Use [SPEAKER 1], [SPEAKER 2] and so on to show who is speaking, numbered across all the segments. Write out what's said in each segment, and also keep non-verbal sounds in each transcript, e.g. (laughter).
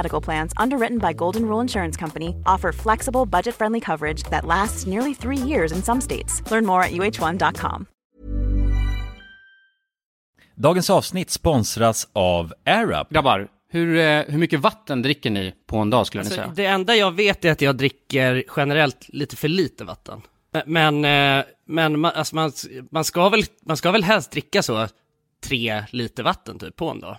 [SPEAKER 1] Medical Plans, underwritten by Golden Rule Insurance Company, offer flexible, budget friendly coverage that lasts nearly three years in some states. Learn more at uh1.com.
[SPEAKER 2] Dagens avsnitt sponsras av AirUp.
[SPEAKER 3] Grabbar, hur, eh, hur mycket vatten dricker ni på en dag skulle ni
[SPEAKER 4] Alltså,
[SPEAKER 3] säga?
[SPEAKER 4] det enda jag vet är att jag dricker generellt lite för lite vatten. Men, men, eh, men man, alltså man, man, ska väl, man ska väl helst dricka så tre liter vatten typ på en dag.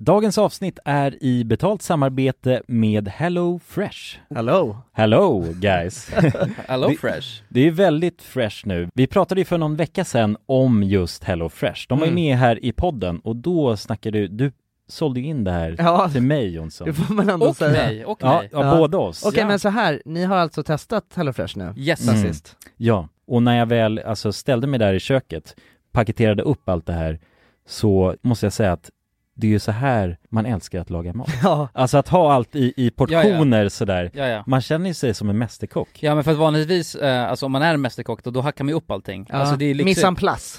[SPEAKER 2] Dagens avsnitt är i betalt samarbete med Hello Fresh.
[SPEAKER 5] Hello!
[SPEAKER 2] Hello guys!
[SPEAKER 3] Hello
[SPEAKER 2] Det-
[SPEAKER 3] Fresh.
[SPEAKER 2] Det är väldigt fresh nu. Vi pratade ju för någon vecka sedan om just Hello Fresh. De var ju
[SPEAKER 5] Mm.
[SPEAKER 2] med här i podden och då snackade du, du sålde ju in det här
[SPEAKER 5] Ja,
[SPEAKER 2] till mig Jonsson.
[SPEAKER 5] det får man ändå
[SPEAKER 3] Och
[SPEAKER 5] säga.
[SPEAKER 3] mig, och
[SPEAKER 2] Ja,
[SPEAKER 3] mig.
[SPEAKER 2] ja,
[SPEAKER 5] Ja.
[SPEAKER 2] båda oss.
[SPEAKER 5] Okej,
[SPEAKER 3] Ja.
[SPEAKER 5] men så här, ni har alltså testat HelloFresh nu?
[SPEAKER 3] Yes.
[SPEAKER 5] Sen
[SPEAKER 2] Mm.
[SPEAKER 5] sist.
[SPEAKER 2] Ja, och när jag väl alltså, ställde mig där i köket, paketerade upp allt det här, så måste jag säga att det är ju så här man älskar att laga mat.
[SPEAKER 5] Ja.
[SPEAKER 2] Alltså att ha allt i, i portioner sådär.
[SPEAKER 3] Ja, ja.
[SPEAKER 2] Man känner ju sig som en mästerkock.
[SPEAKER 3] Ja men för att vanligtvis, eh, alltså om man är en mästerkock då, då hackar man ju upp allting.
[SPEAKER 5] Ja.
[SPEAKER 3] Alltså det är
[SPEAKER 5] Mise en
[SPEAKER 3] liksom,
[SPEAKER 5] place.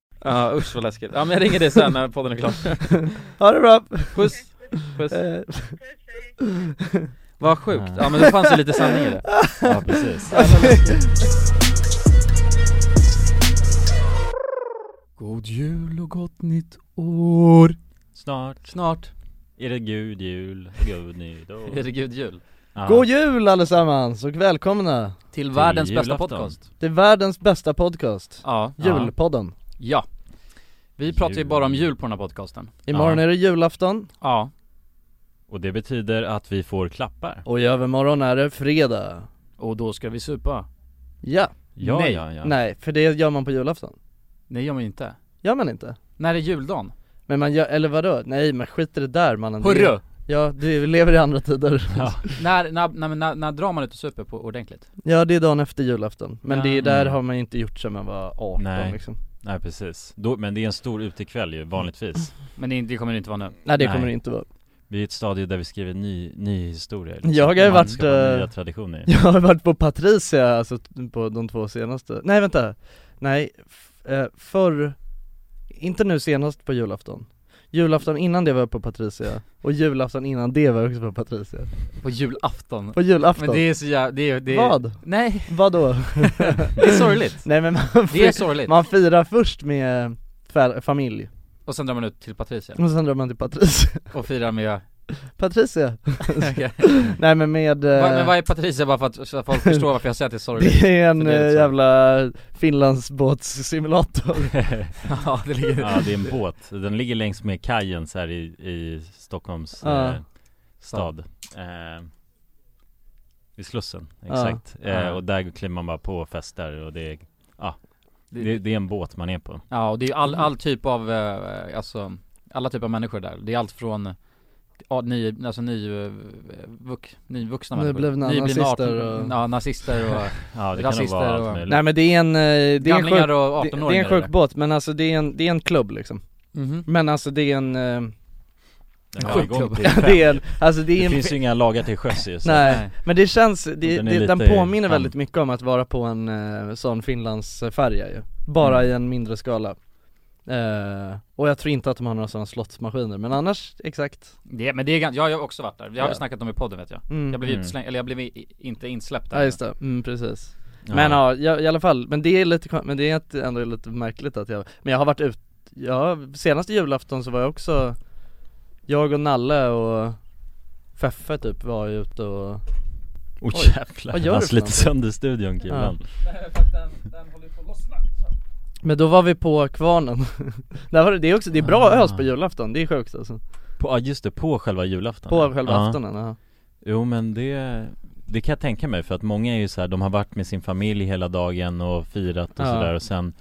[SPEAKER 6] Ja usch vad läskigt. Ja men jag ringer dig sen när podden är klar.
[SPEAKER 5] (laughs) Ha det bra!
[SPEAKER 6] Puss! Puss!
[SPEAKER 5] Eh,
[SPEAKER 6] Vad sjukt. Ja men det fanns ju lite sanning i det.
[SPEAKER 2] Ja, precis.
[SPEAKER 3] God jul och gott nytt år!
[SPEAKER 2] Snart,
[SPEAKER 3] Snart
[SPEAKER 2] Är det god jul och god nytt
[SPEAKER 5] (laughs)
[SPEAKER 3] är det gud jul.
[SPEAKER 2] Ja.
[SPEAKER 5] God jul allesammans och välkomna
[SPEAKER 3] Till
[SPEAKER 2] Till
[SPEAKER 3] världens bästa
[SPEAKER 2] julafton.
[SPEAKER 3] podcast.
[SPEAKER 5] till världens bästa podcast,
[SPEAKER 3] Ja.
[SPEAKER 2] Ja.
[SPEAKER 5] Julpodden.
[SPEAKER 3] Ja. Vi pratar ju
[SPEAKER 2] Jul.
[SPEAKER 3] bara om jul på den här podcasten.
[SPEAKER 5] Imorgon
[SPEAKER 2] Ja.
[SPEAKER 5] är det julafton
[SPEAKER 3] Ja.
[SPEAKER 2] Och det betyder att vi får klappar
[SPEAKER 5] och i övermorgon är det fredag.
[SPEAKER 3] Och då ska vi supa.
[SPEAKER 5] Ja,
[SPEAKER 2] Ja,
[SPEAKER 3] Nej.
[SPEAKER 2] ja, ja
[SPEAKER 5] nej, för det gör man på julafton.
[SPEAKER 3] Nej gör man ju inte.
[SPEAKER 5] Gör man inte?
[SPEAKER 3] När är juldagen?
[SPEAKER 5] Men man gör, eller vadå? Nej men skit i det där mannen.
[SPEAKER 3] Hurru!
[SPEAKER 5] Ja, du lever i andra tider.
[SPEAKER 3] (laughs)
[SPEAKER 5] Ja,
[SPEAKER 3] När, när, när, när, när drar man ut och super på ordentligt?
[SPEAKER 5] det är dagen efter julafton. Men
[SPEAKER 3] Ja.
[SPEAKER 5] det är där
[SPEAKER 2] Mm.
[SPEAKER 5] har man ju inte gjort sedan man var 18
[SPEAKER 2] Nej.
[SPEAKER 5] liksom.
[SPEAKER 2] Nej precis, Då, men det är en stor utekväll ju vanligtvis
[SPEAKER 3] Men det, det kommer det inte vara nu.
[SPEAKER 5] Nej det
[SPEAKER 2] Nej.
[SPEAKER 5] kommer det inte vara.
[SPEAKER 2] Vi är i ett stadie där vi skriver ny, ny historia liksom.
[SPEAKER 5] Jag har ju
[SPEAKER 2] Man
[SPEAKER 5] varit,
[SPEAKER 2] skapar
[SPEAKER 5] eh,
[SPEAKER 2] nya traditioner
[SPEAKER 5] (laughs) Jag har varit på Patricia, alltså t- på de två senaste. Nej vänta, nej, f- eh, förr, inte nu senast på julafton. Julafton innan det var jag på Patricia, och julafton innan det var jag också på Patricia.
[SPEAKER 3] På julafton.
[SPEAKER 5] På julafton?
[SPEAKER 3] Men det är så jävla, det är, det är...
[SPEAKER 5] Vad?
[SPEAKER 3] Nej,
[SPEAKER 5] Vadå? (laughs)
[SPEAKER 3] det är sorgligt.
[SPEAKER 5] nej men man,
[SPEAKER 3] Det är
[SPEAKER 5] fir-
[SPEAKER 3] sorgligt.
[SPEAKER 5] man firar först med fa- familj,
[SPEAKER 3] Och sen drar man ut till Patricia
[SPEAKER 5] och sen drar man till Patricia. (laughs)
[SPEAKER 3] och firar med...
[SPEAKER 2] Mm.
[SPEAKER 5] Patricia? Eh.
[SPEAKER 3] Okej.
[SPEAKER 5] Nej men med... eh,
[SPEAKER 3] Vad- Men vad är Patricia bara för att, så att folk förstår varför jag säger att det är sorgligt?
[SPEAKER 5] Det är en
[SPEAKER 3] För det är
[SPEAKER 5] eh,
[SPEAKER 3] så.
[SPEAKER 5] jävla finlandsbåtssimulator
[SPEAKER 3] (laughs) ja, det
[SPEAKER 2] (laughs)
[SPEAKER 3] ligger...
[SPEAKER 2] Ja det är en båt, den ligger längs med kajen så här i, i Stockholms
[SPEAKER 5] Ja.
[SPEAKER 2] eh, stad eh, Vid Slussen, exakt
[SPEAKER 3] Ja.
[SPEAKER 2] eh, Och där kliver man bara på och festar och det är Ja, det, det är en båt man är på
[SPEAKER 3] Ja, och det är ju all, all typ av, eh, alltså, alla typer av människor där. Det är allt från eh, ja, ny, alltså ny, eh, vuk, nyvuxna
[SPEAKER 5] Nyblivna nazister
[SPEAKER 3] arton-
[SPEAKER 5] och-
[SPEAKER 3] Ja, nazister och
[SPEAKER 2] Ja det kan nog
[SPEAKER 3] Rasister
[SPEAKER 2] vara
[SPEAKER 3] och-
[SPEAKER 2] allt möjligt
[SPEAKER 5] Nej men det är en, eh, (laughs) det är en
[SPEAKER 3] gamlingar
[SPEAKER 5] sjuk,
[SPEAKER 3] och
[SPEAKER 5] det, det är
[SPEAKER 3] 18-åringar
[SPEAKER 5] en sjuk båt men alltså det är en, det är en klubb liksom
[SPEAKER 3] Mhm.
[SPEAKER 5] Men alltså det är en, eh, (laughs)
[SPEAKER 2] Den drar igång
[SPEAKER 3] Sjukklubb.
[SPEAKER 2] till fem.
[SPEAKER 5] det är en, alltså det
[SPEAKER 2] Det
[SPEAKER 5] är en,
[SPEAKER 2] finns ju inga lagar till sjöss ju, så
[SPEAKER 5] nej
[SPEAKER 3] nej.
[SPEAKER 5] men det känns, det,
[SPEAKER 2] Den
[SPEAKER 5] den,
[SPEAKER 2] är
[SPEAKER 5] det, den
[SPEAKER 2] lite
[SPEAKER 5] påminner
[SPEAKER 2] kam.
[SPEAKER 5] väldigt mycket om att vara på en eh, sån finlandsfärja ju Bara
[SPEAKER 2] Mm.
[SPEAKER 5] i en mindre skala Eh, och jag tror inte att de har några sådana slottsmaskiner, men annars, exakt
[SPEAKER 3] Det, men det är ganska, jag har ju också varit där. Vi har ju
[SPEAKER 5] Ja.
[SPEAKER 3] snackat om i podden vet jag.
[SPEAKER 5] mm.
[SPEAKER 3] Jag blev
[SPEAKER 2] Mm.
[SPEAKER 3] utslängd, eller jag blev i, inte insläppt där.
[SPEAKER 5] Ja just det, mm, precis
[SPEAKER 2] Ja.
[SPEAKER 5] Men ja, ja i alla fall, men det är lite, kon- men det är ett- ändå lite märkligt att jag, men jag har varit ut, ja senaste julafton så var jag också, jag och Nalle och Feffe typ var ju ute och,
[SPEAKER 2] Åh
[SPEAKER 5] Oj.
[SPEAKER 2] jävlar,
[SPEAKER 5] Vad gör
[SPEAKER 2] han
[SPEAKER 5] du för
[SPEAKER 2] sliter
[SPEAKER 5] någonting?
[SPEAKER 2] sönder studion killen
[SPEAKER 5] men då var vi på Kvarnen (laughs) Där var det, det är också, det är bra
[SPEAKER 2] Ah.
[SPEAKER 5] ös på julafton, det är sjukt alltså
[SPEAKER 2] på, Ja just det, på själva julafton
[SPEAKER 5] På själva
[SPEAKER 2] ja.
[SPEAKER 5] aftonen, ja
[SPEAKER 2] Jo men det, Det kan jag tänka mig för att många är ju så här, de har varit med sin familj hela dagen och firat och
[SPEAKER 3] Ja.
[SPEAKER 2] sådär och sen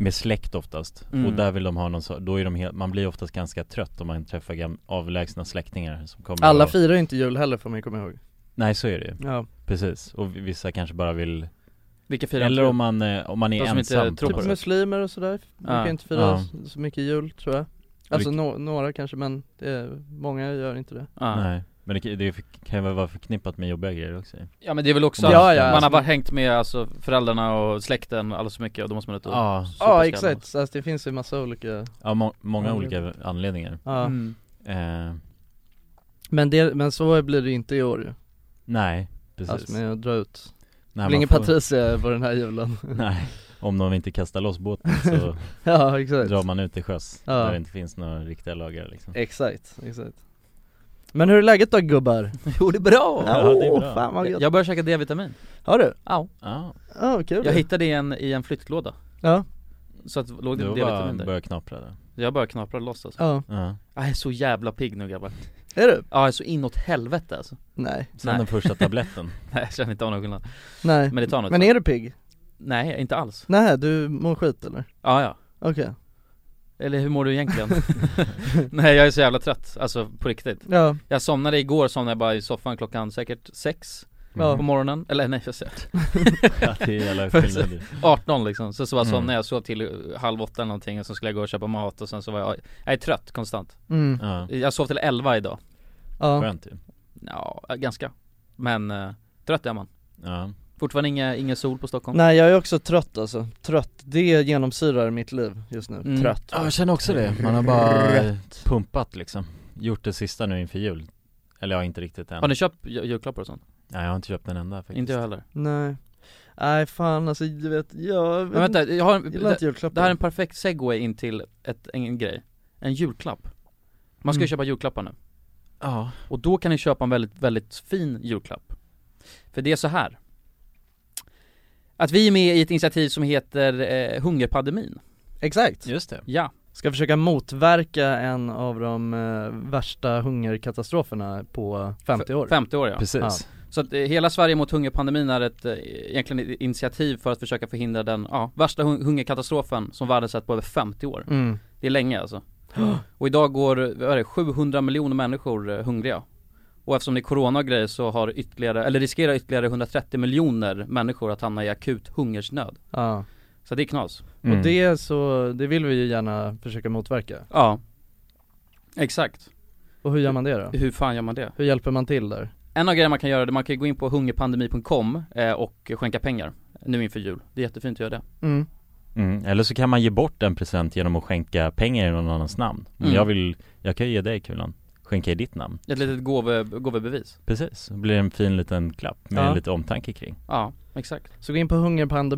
[SPEAKER 2] med släkt oftast
[SPEAKER 3] Mm.
[SPEAKER 2] och där vill de ha någon så, då är de helt, man blir oftast ganska trött om man träffar gam, avlägsna släktingar som kommer
[SPEAKER 5] Alla
[SPEAKER 2] och,
[SPEAKER 5] firar ju inte jul heller får man ju komma ihåg
[SPEAKER 2] Nej så är det ju,
[SPEAKER 5] Ja,
[SPEAKER 2] precis och vi- vissa kanske bara vill
[SPEAKER 3] Vilka fyra
[SPEAKER 2] Eller om man, eh, om man är
[SPEAKER 3] De som inte
[SPEAKER 2] ensam
[SPEAKER 3] tror
[SPEAKER 2] på
[SPEAKER 3] på
[SPEAKER 2] något
[SPEAKER 3] det.
[SPEAKER 5] typ
[SPEAKER 2] sätt.
[SPEAKER 5] muslimer och sådär brukar
[SPEAKER 3] Ja.
[SPEAKER 5] inte fira
[SPEAKER 2] Ja.
[SPEAKER 5] så- så mycket jul tror jag Alltså nå- några kanske men det är, många gör inte det
[SPEAKER 3] ja.
[SPEAKER 2] Nej, men det, det kan ju vara förknippat med jobbiga grejer också
[SPEAKER 3] ja men det är väl också
[SPEAKER 2] Ja,
[SPEAKER 3] att
[SPEAKER 2] ja,
[SPEAKER 3] Man
[SPEAKER 5] alltså-
[SPEAKER 3] har bara hängt med alltså föräldrarna och släkten och alla så mycket och då måste man ut och
[SPEAKER 2] Ja,
[SPEAKER 3] sopa
[SPEAKER 5] Ja
[SPEAKER 3] skallen.
[SPEAKER 5] exakt, så alltså, det finns ju massa olika,
[SPEAKER 2] ja må, många olika anledningar
[SPEAKER 5] ja.
[SPEAKER 3] Mm.
[SPEAKER 2] eh,
[SPEAKER 5] men, det, men så blir det inte i år ju,
[SPEAKER 2] Nej, precis
[SPEAKER 5] alltså med att dra ut
[SPEAKER 2] Nej, man
[SPEAKER 5] Blir ingen
[SPEAKER 2] får-
[SPEAKER 5] Patricia på den här julen (laughs)
[SPEAKER 2] Nej, om de inte kastar loss båten (laughs) så
[SPEAKER 5] Ja exakt
[SPEAKER 2] drar man ut till sjöss
[SPEAKER 5] Ja.
[SPEAKER 2] där det inte finns några riktiga lagar liksom
[SPEAKER 5] Exakt, exakt Men hur är läget då gubbar?
[SPEAKER 3] (laughs) Jo det är bra!
[SPEAKER 2] Ja, det är bra.
[SPEAKER 5] fan vad gött
[SPEAKER 3] Jag börjar käka D-vitamin
[SPEAKER 5] Har du?
[SPEAKER 3] Ja
[SPEAKER 2] Ja,
[SPEAKER 5] Ja, vad kul
[SPEAKER 3] Jag hittade i en, i en flyttlåda
[SPEAKER 5] Ja,
[SPEAKER 3] Så att låg det
[SPEAKER 2] då bara
[SPEAKER 3] D-vitamin där
[SPEAKER 2] börjar knapra där
[SPEAKER 3] Jag bara knaprar loss alltså
[SPEAKER 5] ja,
[SPEAKER 2] ja.
[SPEAKER 3] Jag är så jävla pigg nu grabbar
[SPEAKER 5] är du?
[SPEAKER 3] Ja jag är så inåt helvete alltså
[SPEAKER 5] Nej,
[SPEAKER 2] Sen
[SPEAKER 3] Nej.
[SPEAKER 2] den första
[SPEAKER 3] (laughs)
[SPEAKER 2] tabletten
[SPEAKER 3] Nej jag känner inte av någon skillnad
[SPEAKER 5] nej
[SPEAKER 3] Men det tar något
[SPEAKER 5] Men är du pigg?
[SPEAKER 3] Nej inte alls
[SPEAKER 5] Nej, du mår skit eller?
[SPEAKER 3] Ja ja
[SPEAKER 5] Okej,
[SPEAKER 3] Eller hur mår du
[SPEAKER 5] (laughs)
[SPEAKER 3] egentligen? (laughs) Nej jag är så jävla trött, alltså på riktigt
[SPEAKER 5] ja,
[SPEAKER 3] Jag somnade igår, somnade jag bara i soffan klockan säkert sex
[SPEAKER 2] (laughs)
[SPEAKER 5] Ja.
[SPEAKER 3] på morgonen, eller nej jag säger
[SPEAKER 2] Ja, Mm. det är jävla skillnad ju.
[SPEAKER 3] 18 liksom, så, så bara
[SPEAKER 2] Mm.
[SPEAKER 3] somnade jag, sov till eh, halv åtta eller någonting och så skulle jag gå och köpa mat och sen så var jag, jag är trött konstant
[SPEAKER 5] mm,
[SPEAKER 2] Ja,
[SPEAKER 3] Jag sov till 11 idag,
[SPEAKER 5] ja,
[SPEAKER 2] skönt ju
[SPEAKER 3] ja ganska Men eh, trött är man
[SPEAKER 2] Ja,
[SPEAKER 3] Fortfarande inga, ingen sol på Stockholm
[SPEAKER 5] nej jag är också trött alltså, trött, det genomsyrar mitt liv just nu,
[SPEAKER 3] Mm.
[SPEAKER 5] trött
[SPEAKER 2] jag känner också det, man har bara pumpat liksom Gjort det sista nu inför jul Eller jag har inte riktigt än
[SPEAKER 3] Har ni köpt ju- julklappar och sånt?
[SPEAKER 2] Nej jag har inte köpt en enda faktiskt
[SPEAKER 3] Inte jag heller
[SPEAKER 5] Nej, nej fan alltså du vet, jag
[SPEAKER 3] Men vänta, jag har, en-
[SPEAKER 5] gillar
[SPEAKER 3] det,
[SPEAKER 5] inte julklappar
[SPEAKER 3] det här är en perfekt segway in till ett, en grej En julklapp Man ska ju
[SPEAKER 5] Mm.
[SPEAKER 3] köpa julklappar nu
[SPEAKER 2] Ja,
[SPEAKER 3] Och då kan ni köpa en väldigt, väldigt fin julklapp. För det är så här. Att vi är med i ett initiativ som heter eh, Hungerpandemin.
[SPEAKER 5] Exakt!
[SPEAKER 2] just det
[SPEAKER 3] Ja.
[SPEAKER 5] Ska försöka motverka en av de eh, värsta hungerkatastroferna på 50 år
[SPEAKER 3] 50 år ja.
[SPEAKER 2] Precis
[SPEAKER 3] Så att eh, hela Sverige mot hungerpandemin är ett eh, egentligen ett initiativ för att försöka förhindra den ja, värsta hun- hungerkatastrofen som världen sett på över 50 år.
[SPEAKER 5] mm.
[SPEAKER 3] Det är länge alltså. Och idag går, vad är det, 700 miljoner människor eh, hungriga. Och eftersom det är corona och grejer så har ytterligare, eller riskerar ytterligare 130 miljoner människor att hamna i akut hungersnöd.
[SPEAKER 5] ja.
[SPEAKER 3] Så det är knas.
[SPEAKER 2] Mm.
[SPEAKER 5] Och det är så, det vill vi ju gärna försöka motverka
[SPEAKER 3] Ja Exakt,
[SPEAKER 5] Och hur gör man det då?
[SPEAKER 3] hur fan gör man det?
[SPEAKER 5] Hur hjälper man till där?
[SPEAKER 3] En av grejerna man kan göra är att man kan gå in på hungerpandemi.com eh, och skänka pengar nu inför jul. Det är jättefint att göra det.
[SPEAKER 5] Mm.
[SPEAKER 2] Mm, eller så kan man ge bort en present genom att skänka pengar i någon annans namn. Om
[SPEAKER 3] Mm.
[SPEAKER 2] jag vill, jag kan ju ge dig kulan, skänka i ditt namn.
[SPEAKER 3] Ett litet gåve, gåvebevis.
[SPEAKER 2] Precis, då blir det en fin liten klapp med
[SPEAKER 5] Ja.
[SPEAKER 2] lite omtanke kring.
[SPEAKER 3] Ja, exakt.
[SPEAKER 5] Så gå in på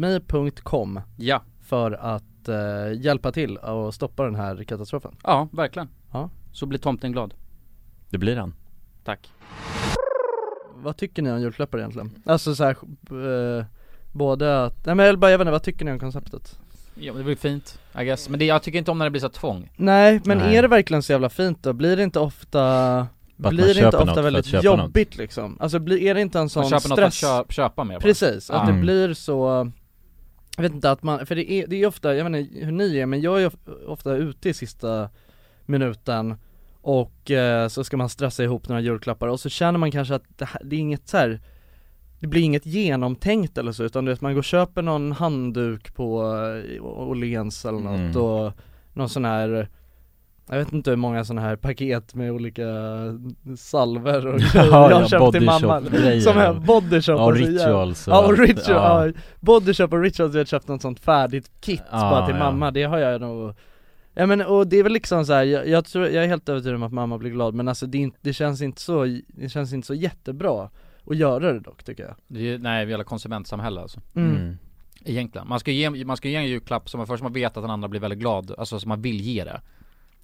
[SPEAKER 5] hungerpandemi.com
[SPEAKER 3] Ja,
[SPEAKER 5] för att eh, hjälpa till och stoppa den här katastrofen
[SPEAKER 3] ja verkligen.
[SPEAKER 5] Ja.
[SPEAKER 3] Så blir tomten glad.
[SPEAKER 2] Det blir han.
[SPEAKER 3] Tack.
[SPEAKER 5] Vad tycker ni om julklappar egentligen? Alltså så här, eh, både att, nej men jag vill bara, jag vet inte, vad tycker ni om konceptet?
[SPEAKER 7] Ja men det blir fint, I guess. Men det, jag tycker inte om när det blir så här tvång
[SPEAKER 5] Nej men
[SPEAKER 2] Nej.
[SPEAKER 5] är det verkligen så jävla fint då? Blir det inte ofta
[SPEAKER 2] man
[SPEAKER 5] Blir det
[SPEAKER 2] köper
[SPEAKER 5] inte
[SPEAKER 2] något
[SPEAKER 5] ofta
[SPEAKER 2] för att
[SPEAKER 5] väldigt
[SPEAKER 2] köpa
[SPEAKER 5] jobbigt liksom? Alltså blir, är det inte en sån
[SPEAKER 7] Man köper något för att
[SPEAKER 5] stress?
[SPEAKER 7] köpa, köpa med bara.
[SPEAKER 5] Precis, att
[SPEAKER 2] Ja.
[SPEAKER 5] det
[SPEAKER 2] Mm.
[SPEAKER 5] blir så Jag vet inte att man, för det är, det är ofta, jag vet inte hur ni är men jag är of- ofta ute i sista minuten och eh, så ska man stressa ihop några julklappar och så känner man kanske att det, här, det är inget så här. Det blir inget genomtänkt eller så utan du vet man går och köper någon handduk på eh, Åhléns eller något
[SPEAKER 2] Mm.
[SPEAKER 5] och någon sån här jag vet inte hur många sådana här paket med olika
[SPEAKER 2] (laughs)
[SPEAKER 5] salver och grejer jag har köpt till mamma
[SPEAKER 2] grejer.
[SPEAKER 5] Som är body shop
[SPEAKER 2] Ja, och
[SPEAKER 5] och så jävla-
[SPEAKER 2] rituals och
[SPEAKER 5] Ja och
[SPEAKER 2] allt.
[SPEAKER 5] ritual, ja.
[SPEAKER 2] Ja.
[SPEAKER 5] Bodyshop och rituals, vi har köpt något sånt färdigt kit
[SPEAKER 2] Ja,
[SPEAKER 5] bara till
[SPEAKER 2] ja.
[SPEAKER 5] mamma, det har jag nog Ja men och det är väl liksom så här, jag, jag tror, jag är helt övertygad om att mamma blir glad men alltså det, är inte, det känns inte så, det känns inte så jättebra att göra det dock tycker jag
[SPEAKER 7] Det är ju, nej, vi har konsumentsamhälle alltså.
[SPEAKER 5] mm.
[SPEAKER 2] Mm.
[SPEAKER 7] Egentligen. Man ska ju ge, man ska ju ge en julklapp som man först man vet att den andra blir väldigt glad, alltså som man vill ge det.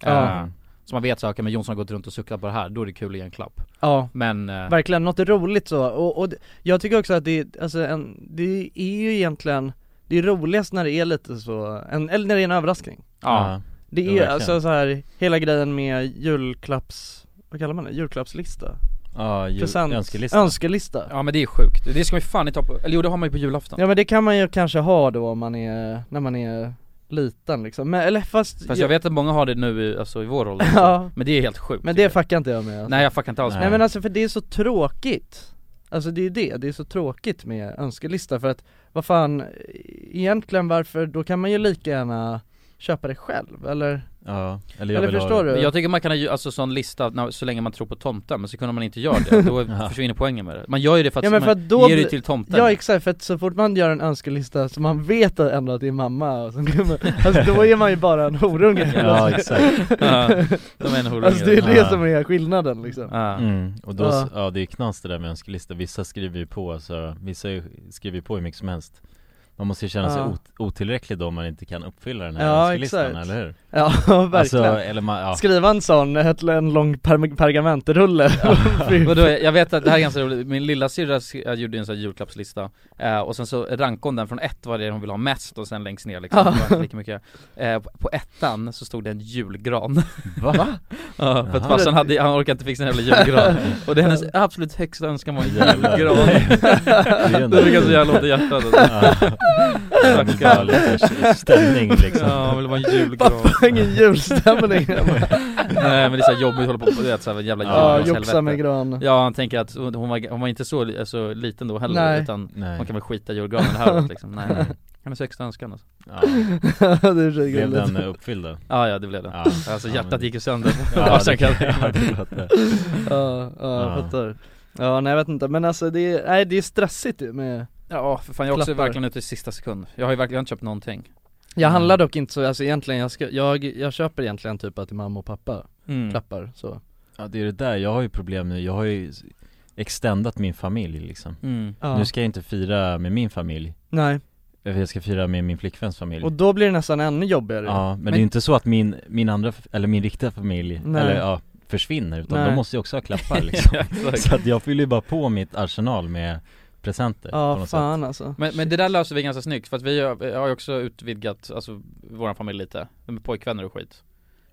[SPEAKER 5] Ja.
[SPEAKER 7] Eh, så man vet så här, okej men Jonsson har gått runt och suckat på det här, då är det kul att ge en klapp.
[SPEAKER 5] Ja,
[SPEAKER 7] Men, eh,
[SPEAKER 5] verkligen, något roligt så, och, och det- jag tycker också att det, alltså en, det är ju egentligen, det är roligast när det är lite så, en, eller när det är en överraskning
[SPEAKER 7] ja.
[SPEAKER 5] Det
[SPEAKER 2] Ja,
[SPEAKER 5] är
[SPEAKER 2] verkligen.
[SPEAKER 5] alltså så här hela grejen med julklapps, vad kallar man det? Julklappslista?
[SPEAKER 2] Ja, ju,
[SPEAKER 5] Present-
[SPEAKER 2] önskelista.
[SPEAKER 5] Önskelista.
[SPEAKER 3] Ja men det är sjukt, det ska man ju fan inte ha på, eller jo det har man ju på julafton
[SPEAKER 5] Ja men det kan man ju kanske ha då om man är, när man är liten liksom, men eller fast,
[SPEAKER 3] Fast jag vet att många har det nu i, alltså, i vår ålder
[SPEAKER 5] (laughs) Ja.
[SPEAKER 3] Men det är helt sjukt
[SPEAKER 5] men
[SPEAKER 3] tycker
[SPEAKER 5] det
[SPEAKER 3] jag.
[SPEAKER 5] fuckar inte jag med alltså.
[SPEAKER 3] Nej jag fuckar inte alls
[SPEAKER 2] Nej.
[SPEAKER 3] med
[SPEAKER 5] Nej men alltså för det är så tråkigt Alltså det är ju det, det är så tråkigt med önskelista för att vad fan, egentligen varför, då kan man ju lika gärna köpa det själv eller?
[SPEAKER 2] Ja, eller jag
[SPEAKER 5] eller
[SPEAKER 2] vill
[SPEAKER 5] förstår
[SPEAKER 2] ha det.
[SPEAKER 5] du?
[SPEAKER 3] Men Jag tycker man kan ha ju- alltså sån lista, när- så länge man tror på tomten, men så kunde man inte göra
[SPEAKER 5] (laughs)
[SPEAKER 3] det, då
[SPEAKER 2] Ja.
[SPEAKER 3] försvinner poängen med det Man gör ju det för att,
[SPEAKER 5] Ja, men för att
[SPEAKER 3] man
[SPEAKER 5] då
[SPEAKER 3] ger det
[SPEAKER 5] blir-
[SPEAKER 3] till tomten
[SPEAKER 5] Ja exakt, för att så fort man gör en önskelista så man vet ändå att det är mamma som kommer, alltså då är man ju bara en horunge (laughs)
[SPEAKER 2] Ja, exakt.
[SPEAKER 3] Ja, de är en horunge
[SPEAKER 5] Alltså det är det
[SPEAKER 2] Ja.
[SPEAKER 5] som är skillnaden liksom
[SPEAKER 3] Ja.
[SPEAKER 2] Mm. Och då,
[SPEAKER 5] Ja.
[SPEAKER 2] ja. ja det är knas det där med önskelista. Vissa skriver ju på, så, vissa ju- skriver ju på hur mycket som helst. Man måste ju känna sig
[SPEAKER 5] Ja.
[SPEAKER 2] ot- otillräcklig då om man inte kan uppfylla den här
[SPEAKER 5] Ja,
[SPEAKER 2] önskelistan,
[SPEAKER 5] exakt.
[SPEAKER 2] eller hur?
[SPEAKER 5] Ja (laughs)
[SPEAKER 2] Alltså,
[SPEAKER 5] verkligen
[SPEAKER 2] eller man, ja.
[SPEAKER 5] Skriva en sån, ett, en lång per- (laughs) pergamentrulle
[SPEAKER 3] Vadå, jag vet att det här är ganska roligt, min lilla syrra sk- jag gjorde en sån här julklappslista eh, Och sen så rankade hon den från ett vad det är hon vill ha mest och sen längst ner liksom,
[SPEAKER 5] Ja.
[SPEAKER 3] det var inte lika mycket eh, på- På ettan så stod det en julgran
[SPEAKER 2] Va?
[SPEAKER 3] Ja, (laughs) för att
[SPEAKER 2] Jaha.
[SPEAKER 3] farsan hade, han orkade inte fixa en jävla julgran Och det är hennes absolut högsta önskan var en
[SPEAKER 2] Jävlar.
[SPEAKER 3] julgran
[SPEAKER 2] är ju ändå-
[SPEAKER 3] (laughs) Det fick jag så jävla ont i hjärtat alltså.
[SPEAKER 2] (laughs) Ja. Ja, men bara lite Stämning liksom.
[SPEAKER 3] Ja, han ville vara en
[SPEAKER 5] (laughs)
[SPEAKER 3] julgran
[SPEAKER 5] Ingen (laughs) julstämning
[SPEAKER 3] Nej men det är så här jobbigt att hålla på med, du vet såhär jävla
[SPEAKER 5] Ja,
[SPEAKER 3] julgranshelvete
[SPEAKER 5] joxa med gran
[SPEAKER 3] Ja han tänker att hon var, hon var inte så alltså, liten då heller
[SPEAKER 5] Nej.
[SPEAKER 3] utan
[SPEAKER 2] Nej.
[SPEAKER 3] man kan väl skita i julgranen det här
[SPEAKER 5] (laughs)
[SPEAKER 3] året liksom, nej nej Hennes högsta önskan alltså.
[SPEAKER 2] Ja.
[SPEAKER 5] (laughs) det är så
[SPEAKER 2] Blev
[SPEAKER 5] gulligt.
[SPEAKER 2] den eh, uppfylld
[SPEAKER 3] (laughs)
[SPEAKER 2] då?
[SPEAKER 3] Ja ja det blev det
[SPEAKER 2] Ja.
[SPEAKER 3] Alltså
[SPEAKER 2] Ja,
[SPEAKER 3] hjärtat
[SPEAKER 2] men-
[SPEAKER 3] gick ju sönder
[SPEAKER 2] Ja, det,
[SPEAKER 3] Sen kan-
[SPEAKER 2] (laughs) ja, det låter.
[SPEAKER 5] Ja, ja, jag
[SPEAKER 2] Ja.
[SPEAKER 5] fattar Ja, nej jag vet inte, men alltså det är, nej det är stressigt ju med
[SPEAKER 3] Ja för fan jag är också
[SPEAKER 5] Klappar.
[SPEAKER 3] verkligen ute i sista sekund Jag har ju verkligen inte köpt någonting
[SPEAKER 2] Mm.
[SPEAKER 5] Jag handlar dock inte så, alltså egentligen, jag, ska, jag, jag köper egentligen typ att mamma och pappa
[SPEAKER 3] mm.
[SPEAKER 5] klappar så
[SPEAKER 2] Ja det är det där, jag har ju problem nu, jag har ju s- extendat min familj liksom
[SPEAKER 3] Mm.
[SPEAKER 5] ja.
[SPEAKER 2] Nu ska jag inte fira med min familj,
[SPEAKER 5] Nej,
[SPEAKER 2] Eh, jag ska fira med min flickväns familj
[SPEAKER 5] och då blir det nästan ännu jobbigare
[SPEAKER 2] Ja, men, det är inte så att min, min andra, f- eller min riktiga familj,
[SPEAKER 5] Nej.
[SPEAKER 2] eller ja, försvinner utan
[SPEAKER 5] Nej.
[SPEAKER 2] de måste ju också ha
[SPEAKER 3] (laughs)
[SPEAKER 5] (laughs)
[SPEAKER 2] klappar liksom
[SPEAKER 3] Exakt.
[SPEAKER 2] Så att jag fyller ju bara på mitt arsenal med presenter på
[SPEAKER 5] Ja,
[SPEAKER 2] något
[SPEAKER 5] fan alltså
[SPEAKER 3] Men, men det där löser vi ganska snyggt för att vi har, jag har ju också utvidgat alltså, vår familj lite Med pojkvänner och skit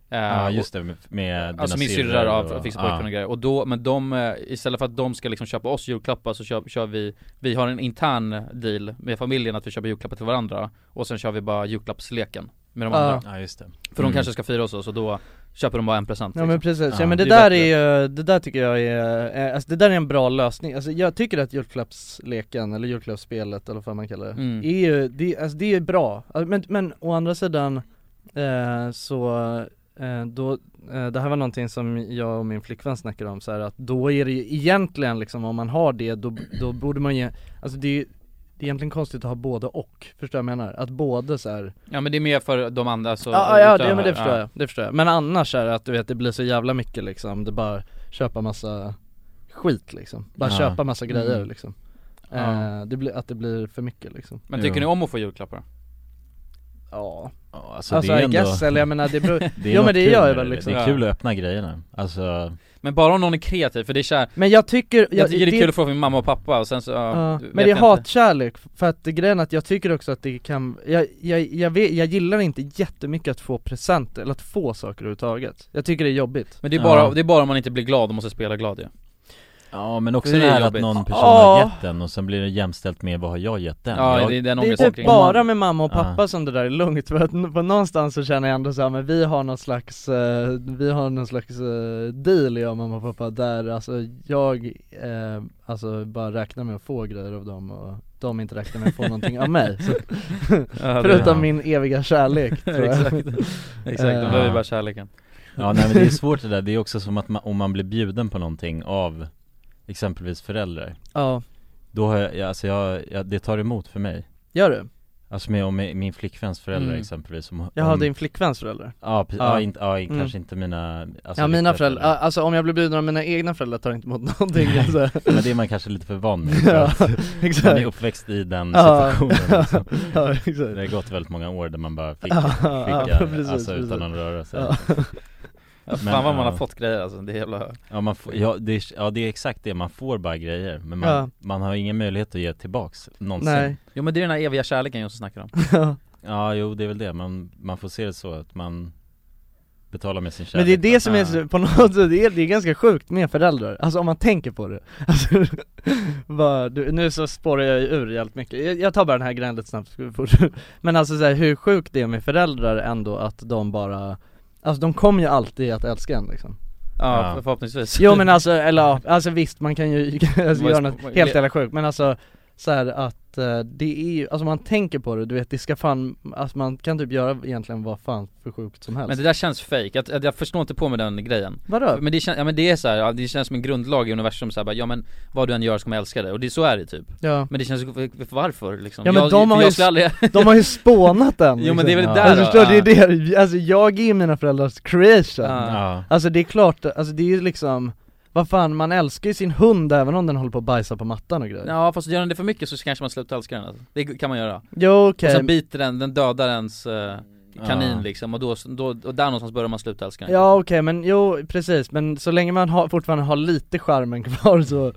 [SPEAKER 3] Eh,
[SPEAKER 2] sätt Ja
[SPEAKER 3] och-
[SPEAKER 2] just det, med, med
[SPEAKER 3] Alltså min syrra har fixat pojkvän och grejer, och då, men de, eh, istället för att de ska liksom köpa oss julklappar så kör, kör vi Vi har en intern deal med familjen att vi köper julklappar till varandra Och sen kör vi bara julklappsleken med de
[SPEAKER 5] Ja.
[SPEAKER 3] andra
[SPEAKER 2] Ja just det
[SPEAKER 3] För
[SPEAKER 2] Mm.
[SPEAKER 3] de kanske ska fira oss och så då köper de bara en present
[SPEAKER 5] Ja
[SPEAKER 3] liksom.
[SPEAKER 5] men precis, ja
[SPEAKER 2] Ja,
[SPEAKER 5] men det,
[SPEAKER 3] det är
[SPEAKER 5] där
[SPEAKER 3] bättre.
[SPEAKER 5] är ju, det där tycker jag är, eh, alltså det där är en bra lösning, alltså jag tycker att julklappsleken, eller julklappsspelet eller vad man kallar det,
[SPEAKER 3] Mm.
[SPEAKER 5] är ju, det, alltså det är bra, Alltså, men, men å andra sidan eh, så, eh, då, eh, det här var någonting som jag och min flickvän snackade om så här att då är det ju egentligen liksom om man har det då, då borde man ju, alltså det är ju det är egentligen konstigt att ha både och, förstår jag vad jag menar? Att både så här
[SPEAKER 3] Ja men det är mer för de andra så
[SPEAKER 5] Ja, ja det,
[SPEAKER 3] utöver-
[SPEAKER 5] men det förstår
[SPEAKER 3] ja.
[SPEAKER 5] jag, det förstår jag. Men annars är det att du vet det blir så jävla mycket liksom, det är bara köpa massa skit liksom. Bara
[SPEAKER 2] Ja.
[SPEAKER 5] köpa massa grejer
[SPEAKER 3] Mm.
[SPEAKER 5] liksom.
[SPEAKER 3] Ja.
[SPEAKER 5] Eh, det blir, att det blir för mycket liksom.
[SPEAKER 3] Men tycker
[SPEAKER 2] Jo.
[SPEAKER 3] ni om att få julklappar?
[SPEAKER 5] Ja,
[SPEAKER 2] Ja, alltså,
[SPEAKER 5] alltså
[SPEAKER 2] det är
[SPEAKER 5] I
[SPEAKER 2] ändå,
[SPEAKER 5] guess, eller jag menar det beror,
[SPEAKER 3] (laughs)
[SPEAKER 2] det är
[SPEAKER 5] Jo, men
[SPEAKER 2] något
[SPEAKER 5] det
[SPEAKER 2] kul
[SPEAKER 5] gör jag
[SPEAKER 2] med
[SPEAKER 5] väl
[SPEAKER 2] det.
[SPEAKER 5] liksom.
[SPEAKER 2] Det är kul att öppna grejerna, alltså
[SPEAKER 3] Men bara om någon är kreativ, för det är kär,
[SPEAKER 5] men jag tycker,
[SPEAKER 3] jag, tycker det, är kul att få min mamma och pappa och sen så, ja,
[SPEAKER 5] ja,
[SPEAKER 3] vet
[SPEAKER 5] men det är
[SPEAKER 3] jag inte.
[SPEAKER 5] hatkärlek, för att grejen är att jag tycker också att det kan, jag, jag, jag, vet, jag gillar inte jättemycket att få presenter, eller att få saker överhuvudtaget Jag tycker det är jobbigt
[SPEAKER 3] Men det är, bara,
[SPEAKER 2] Ja.
[SPEAKER 3] det är bara om man inte blir glad och måste spela glad ju
[SPEAKER 2] Ja men också
[SPEAKER 3] Det är
[SPEAKER 2] det, här
[SPEAKER 3] jobbigt.
[SPEAKER 2] att någon person
[SPEAKER 5] Ja.
[SPEAKER 2] har gett den och sen blir det jämställt med vad har jag gett den?
[SPEAKER 3] Ja,
[SPEAKER 2] jag,
[SPEAKER 3] det är den
[SPEAKER 5] Det är
[SPEAKER 3] ångesten
[SPEAKER 5] typ
[SPEAKER 3] kring-
[SPEAKER 5] bara med mamma och pappa
[SPEAKER 2] Ja.
[SPEAKER 5] som det där är lugnt för att på någonstans så känner jag ändå såhär men vi har någon slags, eh, vi har någon slags eh, deal jag och mamma och pappa där alltså jag, eh, alltså bara räknar med att få grejer av dem och de inte räknar med
[SPEAKER 2] (laughs)
[SPEAKER 5] att få någonting av mig så,
[SPEAKER 3] Ja, det-
[SPEAKER 5] Förutom min
[SPEAKER 2] (laughs)
[SPEAKER 3] (laughs)
[SPEAKER 5] eviga kärlek tror jag
[SPEAKER 3] Exakt,
[SPEAKER 5] (laughs)
[SPEAKER 3] exakt, då
[SPEAKER 5] Eh,
[SPEAKER 3] behöver vi bara kärleken
[SPEAKER 2] Ja nej men det är svårt det där, det är också som att man, om man blir bjuden på någonting av exempelvis föräldrar
[SPEAKER 5] Ja,
[SPEAKER 2] Då har jag, alltså jag, jag det tar emot för mig
[SPEAKER 5] gör du?
[SPEAKER 2] Alltså med, om min min flickväns föräldrar
[SPEAKER 3] Mm.
[SPEAKER 2] exempelvis om,
[SPEAKER 5] Jag har
[SPEAKER 2] om,
[SPEAKER 5] din flickväns föräldrar
[SPEAKER 2] Ja, ja,
[SPEAKER 5] Ja.
[SPEAKER 2] ja, inte, ja
[SPEAKER 5] Mm.
[SPEAKER 2] kanske inte mina alltså,
[SPEAKER 5] Ja mina
[SPEAKER 2] riktiga
[SPEAKER 5] föräldrar, Ja, alltså om jag blir bjuden av mina egna föräldrar tar jag inte emot någonting alltså.
[SPEAKER 2] Men det är man kanske lite för van
[SPEAKER 5] (laughs)
[SPEAKER 2] med för
[SPEAKER 5] Ja,
[SPEAKER 2] att Man är
[SPEAKER 5] exakt
[SPEAKER 2] uppväxt i den
[SPEAKER 5] Ja.
[SPEAKER 2] situationen liksom.
[SPEAKER 5] (laughs) Ja
[SPEAKER 2] Det
[SPEAKER 5] exakt
[SPEAKER 2] har gått väldigt många år där man bara fick,
[SPEAKER 5] Ja,
[SPEAKER 2] fick
[SPEAKER 5] ja, precis,
[SPEAKER 2] alltså utan
[SPEAKER 5] precis.
[SPEAKER 2] någon rörelse
[SPEAKER 5] Ja.
[SPEAKER 3] ja,
[SPEAKER 2] Men,
[SPEAKER 3] Fan vad man
[SPEAKER 2] ja.
[SPEAKER 3] har fått grejer alltså, det är jävla
[SPEAKER 2] Ja, man får, ja, det är, ja det är exakt det, man får bara grejer men man,
[SPEAKER 5] Ja.
[SPEAKER 2] man har ingen möjlighet att ge tillbaks någonsin
[SPEAKER 5] Nej,
[SPEAKER 3] Jo men det är den här eviga kärleken jag snackar om
[SPEAKER 5] (laughs) ja
[SPEAKER 2] Ja jo det är väl det, man, man får se det så att man betala med sin
[SPEAKER 5] Men
[SPEAKER 2] kärlek
[SPEAKER 5] det är det som är
[SPEAKER 2] Ah.
[SPEAKER 5] så- på något sätt, det är, det är ganska sjukt med föräldrar, alltså om man tänker på det (laughs) alltså, vad, du, Nu så spårar jag ju ur jävligt mycket, jag, jag tar bara den här grejen lite snabbt ska vi fortsätta? (laughs) Men alltså så här, hur sjukt det är med föräldrar ändå att de bara Alltså de kommer ju alltid att älska en
[SPEAKER 3] (laughs)
[SPEAKER 5] liksom
[SPEAKER 3] Ja,
[SPEAKER 2] Ja.
[SPEAKER 3] förhoppningsvis (laughs)
[SPEAKER 5] Jo men alltså, eller ja, alltså visst man kan ju (laughs) alltså, göra något helt jävla sjukt men alltså så här att eh, det är ju, alltså man tänker på det, du vet det ska fan, alltså man kan typ göra egentligen vad fan för sjukt som helst
[SPEAKER 3] Men det där känns fake, att, att jag förstår inte på med den grejen
[SPEAKER 5] Vadå?
[SPEAKER 3] Men det känns, ja men det är så här, ja, det känns som en grundlag i universum så här, bara, ja men vad du än gör så kommer jag älska dig, och det, så är det typ
[SPEAKER 5] Ja
[SPEAKER 3] Men det känns, varför liksom?
[SPEAKER 5] Ja, men
[SPEAKER 3] jag,
[SPEAKER 5] de har
[SPEAKER 3] jag
[SPEAKER 5] ju-
[SPEAKER 3] skulle aldrig,
[SPEAKER 5] De har ju spånat den
[SPEAKER 3] Jo, men det är väl
[SPEAKER 5] liksom.
[SPEAKER 3] där då.
[SPEAKER 5] alltså, förstår, du? det är det, alltså jag är ju mina föräldrars creation
[SPEAKER 2] Ja,
[SPEAKER 5] Alltså det är klart, alltså det är ju liksom vad fan, man älskar ju sin hund även om den håller på att bajsa på mattan och grejer
[SPEAKER 3] ja fast gör den det för mycket så kanske man slutar älska den alltså. Det kan man göra,
[SPEAKER 5] Jo okej,
[SPEAKER 3] och sen biter den, den dödar ens eh, kanin
[SPEAKER 2] Ja.
[SPEAKER 3] liksom, och då, då, och där någonstans börjar man sluta älska den
[SPEAKER 5] ja okej men jo precis, men så länge man har, fortfarande har lite charmen kvar så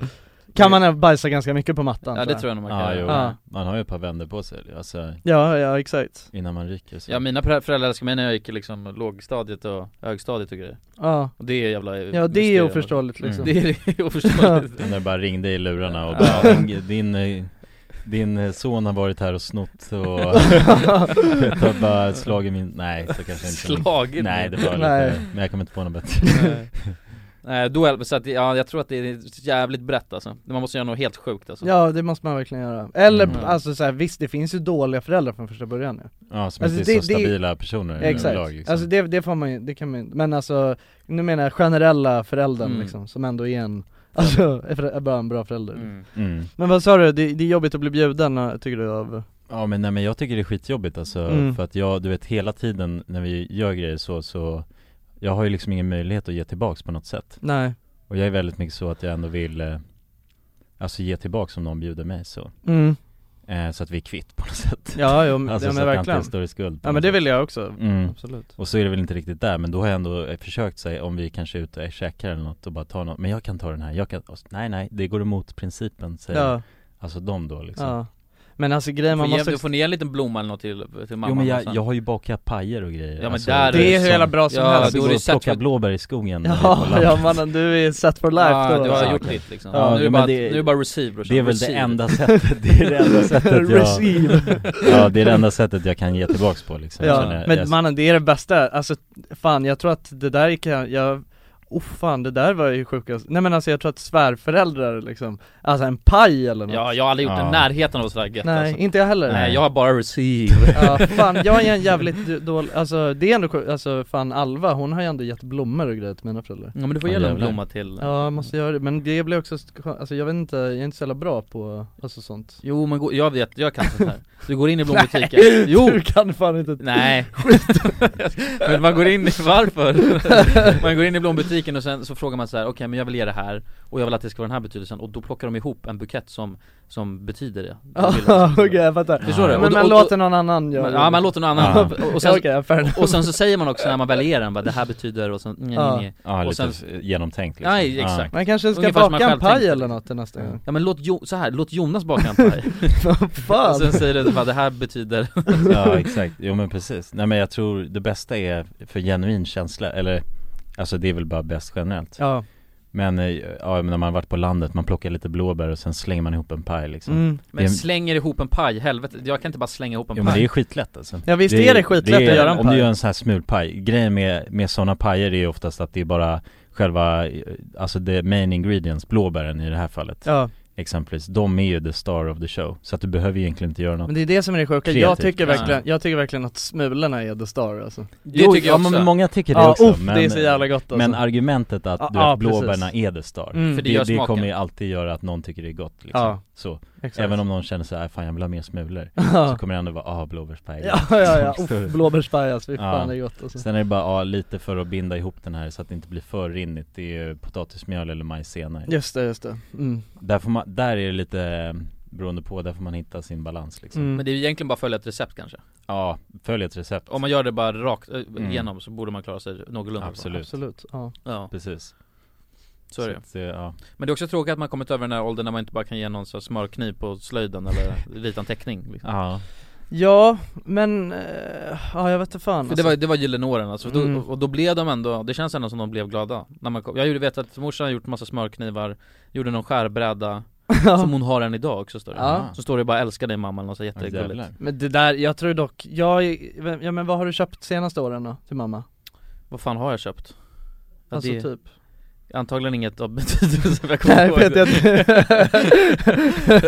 [SPEAKER 5] kan man även bajsa ganska mycket på mattan
[SPEAKER 3] Ja det tror jag nog man kan
[SPEAKER 2] ja
[SPEAKER 3] göra.
[SPEAKER 2] jo.
[SPEAKER 5] Ja.
[SPEAKER 2] Man har ju ett par vänder på sig alltså,
[SPEAKER 5] Ja, ja exakt,
[SPEAKER 2] innan man ryker så.
[SPEAKER 3] Ja mina pra- föräldrar älskade mig när jag gick i liksom lågstadiet och högstadiet och grejer
[SPEAKER 5] ja,
[SPEAKER 3] Och det är jävla
[SPEAKER 5] ja det är
[SPEAKER 3] mysterium.
[SPEAKER 5] oförståeligt
[SPEAKER 2] Mm.
[SPEAKER 5] liksom
[SPEAKER 3] Det är (laughs) oförståeligt
[SPEAKER 2] (laughs) När det bara ringde i lurarna och
[SPEAKER 3] Ja.
[SPEAKER 2] bara, din, din, eh, din eh, son har varit här och snott och (laughs) har bara slagit min, nej så kanske inte
[SPEAKER 3] Slagit
[SPEAKER 2] Nej det var lite,
[SPEAKER 5] Nej.
[SPEAKER 2] men jag kommer inte på något bättre
[SPEAKER 3] (laughs) Nej. Nej då är, så att, det- ja, jag tror att det är jävligt brett alltså. Man måste göra något helt sjukt alltså.
[SPEAKER 5] Ja det måste man verkligen göra, eller
[SPEAKER 2] Mm.
[SPEAKER 5] alltså så här, visst det finns ju dåliga föräldrar från första början ja.
[SPEAKER 2] Ja som
[SPEAKER 5] Alltså,
[SPEAKER 2] inte är
[SPEAKER 5] det-
[SPEAKER 2] så
[SPEAKER 5] det-
[SPEAKER 2] stabila personer
[SPEAKER 5] Exakt,
[SPEAKER 2] överlag, liksom.
[SPEAKER 5] alltså det, det får man ju, det kan man ju- men alltså nu menar jag generella föräldrar
[SPEAKER 3] Mm.
[SPEAKER 5] liksom, som ändå är en, alltså är för- är bara en bra förälder
[SPEAKER 3] Mm.
[SPEAKER 2] mm.
[SPEAKER 5] Men vad sa du, det, det är jobbigt att bli bjuden eh, tycker du av,
[SPEAKER 2] Ja men nej men jag tycker det är skitjobbigt alltså,
[SPEAKER 5] Mm.
[SPEAKER 2] för att jag, du vet hela tiden när vi gör grejer så, så Jag har ju liksom ingen möjlighet att ge tillbaks på något sätt
[SPEAKER 5] nej,
[SPEAKER 2] Och jag är väldigt mycket så att jag ändå vill eh, Alltså ge tillbaks om någon bjuder mig så
[SPEAKER 5] mm.
[SPEAKER 2] eh, Så att vi är kvitt på något sätt
[SPEAKER 5] ja jo,
[SPEAKER 2] Alltså
[SPEAKER 5] ja,
[SPEAKER 2] så
[SPEAKER 5] men
[SPEAKER 2] att jag
[SPEAKER 5] verkligen
[SPEAKER 2] inte står i skuld på
[SPEAKER 5] Ja men
[SPEAKER 2] något
[SPEAKER 5] det
[SPEAKER 2] sätt.
[SPEAKER 5] vill jag också,
[SPEAKER 2] mm.
[SPEAKER 5] absolut
[SPEAKER 2] Och så är det väl inte riktigt där, men då har jag ändå eh, försökt säga om vi kanske är ute och käkar eller något och bara tar något Men jag kan ta den här, jag kan, och s- nej nej, det går emot principen säger
[SPEAKER 5] Ja,
[SPEAKER 2] Alltså de då liksom
[SPEAKER 5] ja Men alltså grejen man
[SPEAKER 3] Man
[SPEAKER 5] måste
[SPEAKER 3] du får ni ge en liten blomma eller något till, alltså. till mamma
[SPEAKER 2] Jo men jag,
[SPEAKER 3] och sen-
[SPEAKER 2] jag har ju bakat pajer och grejer
[SPEAKER 3] Ja, men
[SPEAKER 2] alltså,
[SPEAKER 3] där-
[SPEAKER 5] Det är hur
[SPEAKER 2] som-
[SPEAKER 5] jävla bra som
[SPEAKER 3] Ja,
[SPEAKER 5] helst
[SPEAKER 3] då
[SPEAKER 2] Alltså,
[SPEAKER 3] har
[SPEAKER 2] går
[SPEAKER 3] du
[SPEAKER 2] och
[SPEAKER 3] sett
[SPEAKER 2] plocka
[SPEAKER 3] för-
[SPEAKER 2] blåbär i skogen när vi är på
[SPEAKER 5] Ja,
[SPEAKER 2] landet.
[SPEAKER 5] ja mannen du är set for life
[SPEAKER 3] ja,
[SPEAKER 5] då
[SPEAKER 3] du har
[SPEAKER 2] Ja,
[SPEAKER 3] gjort
[SPEAKER 2] okej.
[SPEAKER 3] ditt liksom.
[SPEAKER 2] Ja,
[SPEAKER 3] nu, är det
[SPEAKER 2] men
[SPEAKER 3] bara,
[SPEAKER 2] det-
[SPEAKER 3] nu är det bara alltså. receive brorsan.
[SPEAKER 2] Det är väl det
[SPEAKER 3] Receive.
[SPEAKER 2] enda sättet, det är det
[SPEAKER 5] (laughs)
[SPEAKER 2] enda sättet jag,
[SPEAKER 5] Receive.
[SPEAKER 2] ja, det är det enda sättet jag kan ge tillbaks på liksom
[SPEAKER 5] Ja,
[SPEAKER 2] Sen är-
[SPEAKER 5] men
[SPEAKER 2] jag-
[SPEAKER 5] mannen det är det bästa, alltså fan jag tror att det där kan, jag, oh fan det där var ju sjukast, nej men alltså jag tror att svärföräldrar liksom, alltså en paj eller något
[SPEAKER 3] Ja, jag har aldrig gjort
[SPEAKER 2] Ja.
[SPEAKER 3] den närheten av sådär gött
[SPEAKER 5] Nej,
[SPEAKER 3] alltså.
[SPEAKER 5] inte jag heller
[SPEAKER 3] Nej,
[SPEAKER 2] Nej.
[SPEAKER 3] jag har bara receive
[SPEAKER 5] Ja, fan jag är en jävligt dålig, alltså det är ändå sjukt, alltså fan Alva hon har ju ändå gett blommor och grejer till mina föräldrar
[SPEAKER 3] Ja men du
[SPEAKER 2] Ja,
[SPEAKER 3] får ge en
[SPEAKER 2] jävlar.
[SPEAKER 3] blomma till
[SPEAKER 5] Ja, jag måste göra det, men det blir också, alltså jag vet inte, jag är inte så jävla bra på, alltså sånt
[SPEAKER 3] Jo men gå, jag vet, jag kan sånt här Du går (laughs) in i blombutiken, jo!
[SPEAKER 5] Du kan fan inte
[SPEAKER 3] Nej, (laughs) Men man går in i, (laughs) varför? man går in i blombutiken och sen så frågar man så här: okej men jag vill ge det här och jag vill att det ska vara den här betydelsen och då plockar de ihop en bukett som, som betyder det
[SPEAKER 5] (laughs) Ja, okej jag fattar
[SPEAKER 3] Förstår du?
[SPEAKER 5] Men
[SPEAKER 3] Och då-
[SPEAKER 5] man
[SPEAKER 3] och-
[SPEAKER 5] låter någon annan göra
[SPEAKER 3] Man, ja man låter någon annan, och, och, sen,
[SPEAKER 5] Okej, jag fair enough.
[SPEAKER 3] och sen så säger man också när man väl ger den bara, det här betyder och sen, nej, nej, nej.
[SPEAKER 2] Ja,
[SPEAKER 3] Och
[SPEAKER 2] lite
[SPEAKER 3] sen-
[SPEAKER 2] f- genomtänkt liksom.
[SPEAKER 3] Nej, exakt.
[SPEAKER 5] Man kanske ska
[SPEAKER 3] Ungefär som man
[SPEAKER 5] baka en
[SPEAKER 3] själv
[SPEAKER 5] paj
[SPEAKER 3] tänkte.
[SPEAKER 5] eller något till nästa gång
[SPEAKER 3] Ja men låt, jo, så här, låt Jonas baka en
[SPEAKER 5] (laughs)
[SPEAKER 3] paj
[SPEAKER 2] (laughs)
[SPEAKER 5] Fan!
[SPEAKER 3] och sen säger du bara, det här betyder
[SPEAKER 2] Ja. ja, exakt. Jo men precis. Nej men jag tror det bästa är för genuin känsla, eller Alltså det är väl bara bäst generellt
[SPEAKER 5] Ja,
[SPEAKER 2] Men, eh, ja men när man har varit på landet, man plockar lite blåbär och sen slänger man ihop en paj liksom
[SPEAKER 5] mm.
[SPEAKER 2] Det
[SPEAKER 3] Men
[SPEAKER 2] är-
[SPEAKER 3] slänger ihop en paj, helvete, jag kan inte bara slänga ihop en
[SPEAKER 2] Jo men det
[SPEAKER 3] paj
[SPEAKER 2] är skitlätt alltså
[SPEAKER 5] Ja, visst är det skitlätt
[SPEAKER 2] det är-
[SPEAKER 5] att göra en
[SPEAKER 2] Om
[SPEAKER 5] paj.
[SPEAKER 2] du gör en sån här smulpaj, grejen med, med sådana pajer är ju oftast att det är bara själva, eh, alltså the main ingredients, blåbären i det här fallet
[SPEAKER 5] ja,
[SPEAKER 2] exempelvis, de är ju the star of the show Så att du behöver ju egentligen inte göra något
[SPEAKER 5] men det är det som är det sjuka, jag
[SPEAKER 2] Kreativt.
[SPEAKER 5] tycker
[SPEAKER 3] Ja.
[SPEAKER 5] verkligen, jag tycker verkligen att smulorna är the star alltså
[SPEAKER 3] Det
[SPEAKER 2] Jo,
[SPEAKER 3] tycker
[SPEAKER 2] ja,
[SPEAKER 3] jag också,
[SPEAKER 2] men många tycker det
[SPEAKER 5] Ja,
[SPEAKER 2] också
[SPEAKER 5] uff, det är så jävla gott alltså
[SPEAKER 2] Men argumentet att
[SPEAKER 5] Ja,
[SPEAKER 2] du vet,
[SPEAKER 5] ja, precis.
[SPEAKER 2] blåbärna är the star
[SPEAKER 5] Mm.
[SPEAKER 3] För
[SPEAKER 2] För
[SPEAKER 3] det gör
[SPEAKER 2] det, det
[SPEAKER 3] smaken.
[SPEAKER 2] kommer ju alltid göra att någon tycker det är gott liksom.
[SPEAKER 5] Ja.
[SPEAKER 2] Så,
[SPEAKER 5] Exakt.
[SPEAKER 2] även
[SPEAKER 5] (laughs)
[SPEAKER 2] om någon känner så här, "Äh, fan jag vill ha mer smulor Så
[SPEAKER 5] Ja,
[SPEAKER 2] kommer det ändå vara, ah blåbärspaj
[SPEAKER 5] ja, ja,
[SPEAKER 2] (laughs)
[SPEAKER 5] ja. Uff, blåbärsfärg alltså, fy
[SPEAKER 2] Ja.
[SPEAKER 5] fan det är gott
[SPEAKER 3] Typ.
[SPEAKER 5] alltså
[SPEAKER 2] Sen är det bara, ja lite för att binda ihop den här så att det inte blir för rinnigt Det är ju potatismjöl eller majsena i.
[SPEAKER 5] Just det, just det mm.
[SPEAKER 2] där, får man, där är det lite, eh, beroende på, där får man hitta sin balans liksom
[SPEAKER 5] Mm.
[SPEAKER 3] men det är ju egentligen bara att följa ett recept kanske
[SPEAKER 2] Ja, följ ett recept
[SPEAKER 3] Om man gör det bara rakt eh, igenom så borde man klara sig någorlunda
[SPEAKER 2] Mm. Absolut.
[SPEAKER 5] Absolut, ja
[SPEAKER 3] Ja,
[SPEAKER 2] Precis
[SPEAKER 3] så är det
[SPEAKER 2] att, eh, ja.
[SPEAKER 3] Men det är också tråkigt att man (laughs) kommit över den här åldern när man inte bara kan ge någon så här smörkniv på slöjden eller rita en teckning liksom.
[SPEAKER 2] ja,
[SPEAKER 5] Ja, men, eh, ja jag vet inte fan
[SPEAKER 3] För
[SPEAKER 5] alltså.
[SPEAKER 3] det var, det var gyllene åren alltså, För då,
[SPEAKER 5] Mm.
[SPEAKER 3] och- och då blev de ändå, det känns ändå som de blev glada när man kom. Jag gjorde- vet att morsan har gjort massa smörknivar, gjorde någon skärbräda,
[SPEAKER 5] (laughs)
[SPEAKER 3] som hon har än idag också står det
[SPEAKER 5] Ja.
[SPEAKER 3] Så står det bara 'älskar dig mamma' eller något så
[SPEAKER 2] Ja,
[SPEAKER 3] jättegulligt
[SPEAKER 2] jävlar.
[SPEAKER 5] Men det där, jag tror dock, jag, är- vem- ja men vad har du köpt senaste åren då till mamma?
[SPEAKER 3] Vad fan har jag köpt? Ja,
[SPEAKER 5] Alltså
[SPEAKER 3] det är
[SPEAKER 5] typ
[SPEAKER 3] antagligen inget av (laughs) betydelse för jag kommer
[SPEAKER 5] Nej
[SPEAKER 3] ihåg
[SPEAKER 5] för att
[SPEAKER 3] det.
[SPEAKER 5] jag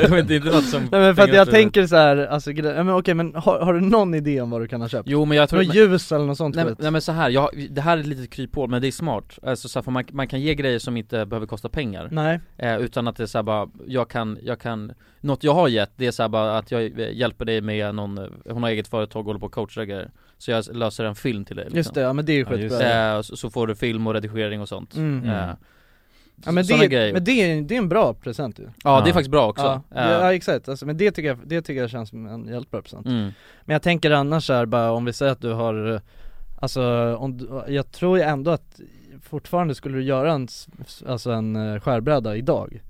[SPEAKER 3] Jag vet inte något som
[SPEAKER 5] Nej men för att jag
[SPEAKER 3] Tänker att-
[SPEAKER 5] tänker så här, alltså gre- ja, men okej men har, har du någon idé om vad du kan ha
[SPEAKER 3] (laughs)
[SPEAKER 5] köpt?
[SPEAKER 3] Jo men jag tror
[SPEAKER 5] Något ljus eller något sånt
[SPEAKER 3] Nej, men-
[SPEAKER 5] skit?
[SPEAKER 3] nej men så här, jag, det här är ett litet kryphål men det är smart, alltså, så här, för man, man kan ge grejer som inte behöver kosta pengar
[SPEAKER 5] Nej,
[SPEAKER 3] eh, Utan att det är så här, bara, jag kan, jag kan, något jag har gett det är så här, bara att jag eh, hjälper dig med någon, eh, hon har eget företag och håller på och coachar grejer Så jag löser en film till dig liksom.
[SPEAKER 5] just det, ja men det är ju
[SPEAKER 2] Ja, just
[SPEAKER 5] skitbra
[SPEAKER 2] det.
[SPEAKER 3] Eh, så, så får du film och redigering och sånt
[SPEAKER 5] Mm.
[SPEAKER 2] Mm.
[SPEAKER 3] eh,
[SPEAKER 5] Ja men,
[SPEAKER 3] såna
[SPEAKER 5] det,
[SPEAKER 3] grejer.
[SPEAKER 5] men det, är, det är en bra present ju
[SPEAKER 3] Ja det
[SPEAKER 2] Ja.
[SPEAKER 3] är faktiskt bra också
[SPEAKER 5] Ja,
[SPEAKER 3] Eh,
[SPEAKER 5] ja exakt, alltså, men det tycker, jag, det tycker jag känns som en hjälpbra present
[SPEAKER 3] mm.
[SPEAKER 5] Men jag tänker annars här bara om vi säger att du har eh, Alltså om, du- jag tror ju ändå att fortfarande skulle du göra en, s- s- alltså en eh, skärbräda idag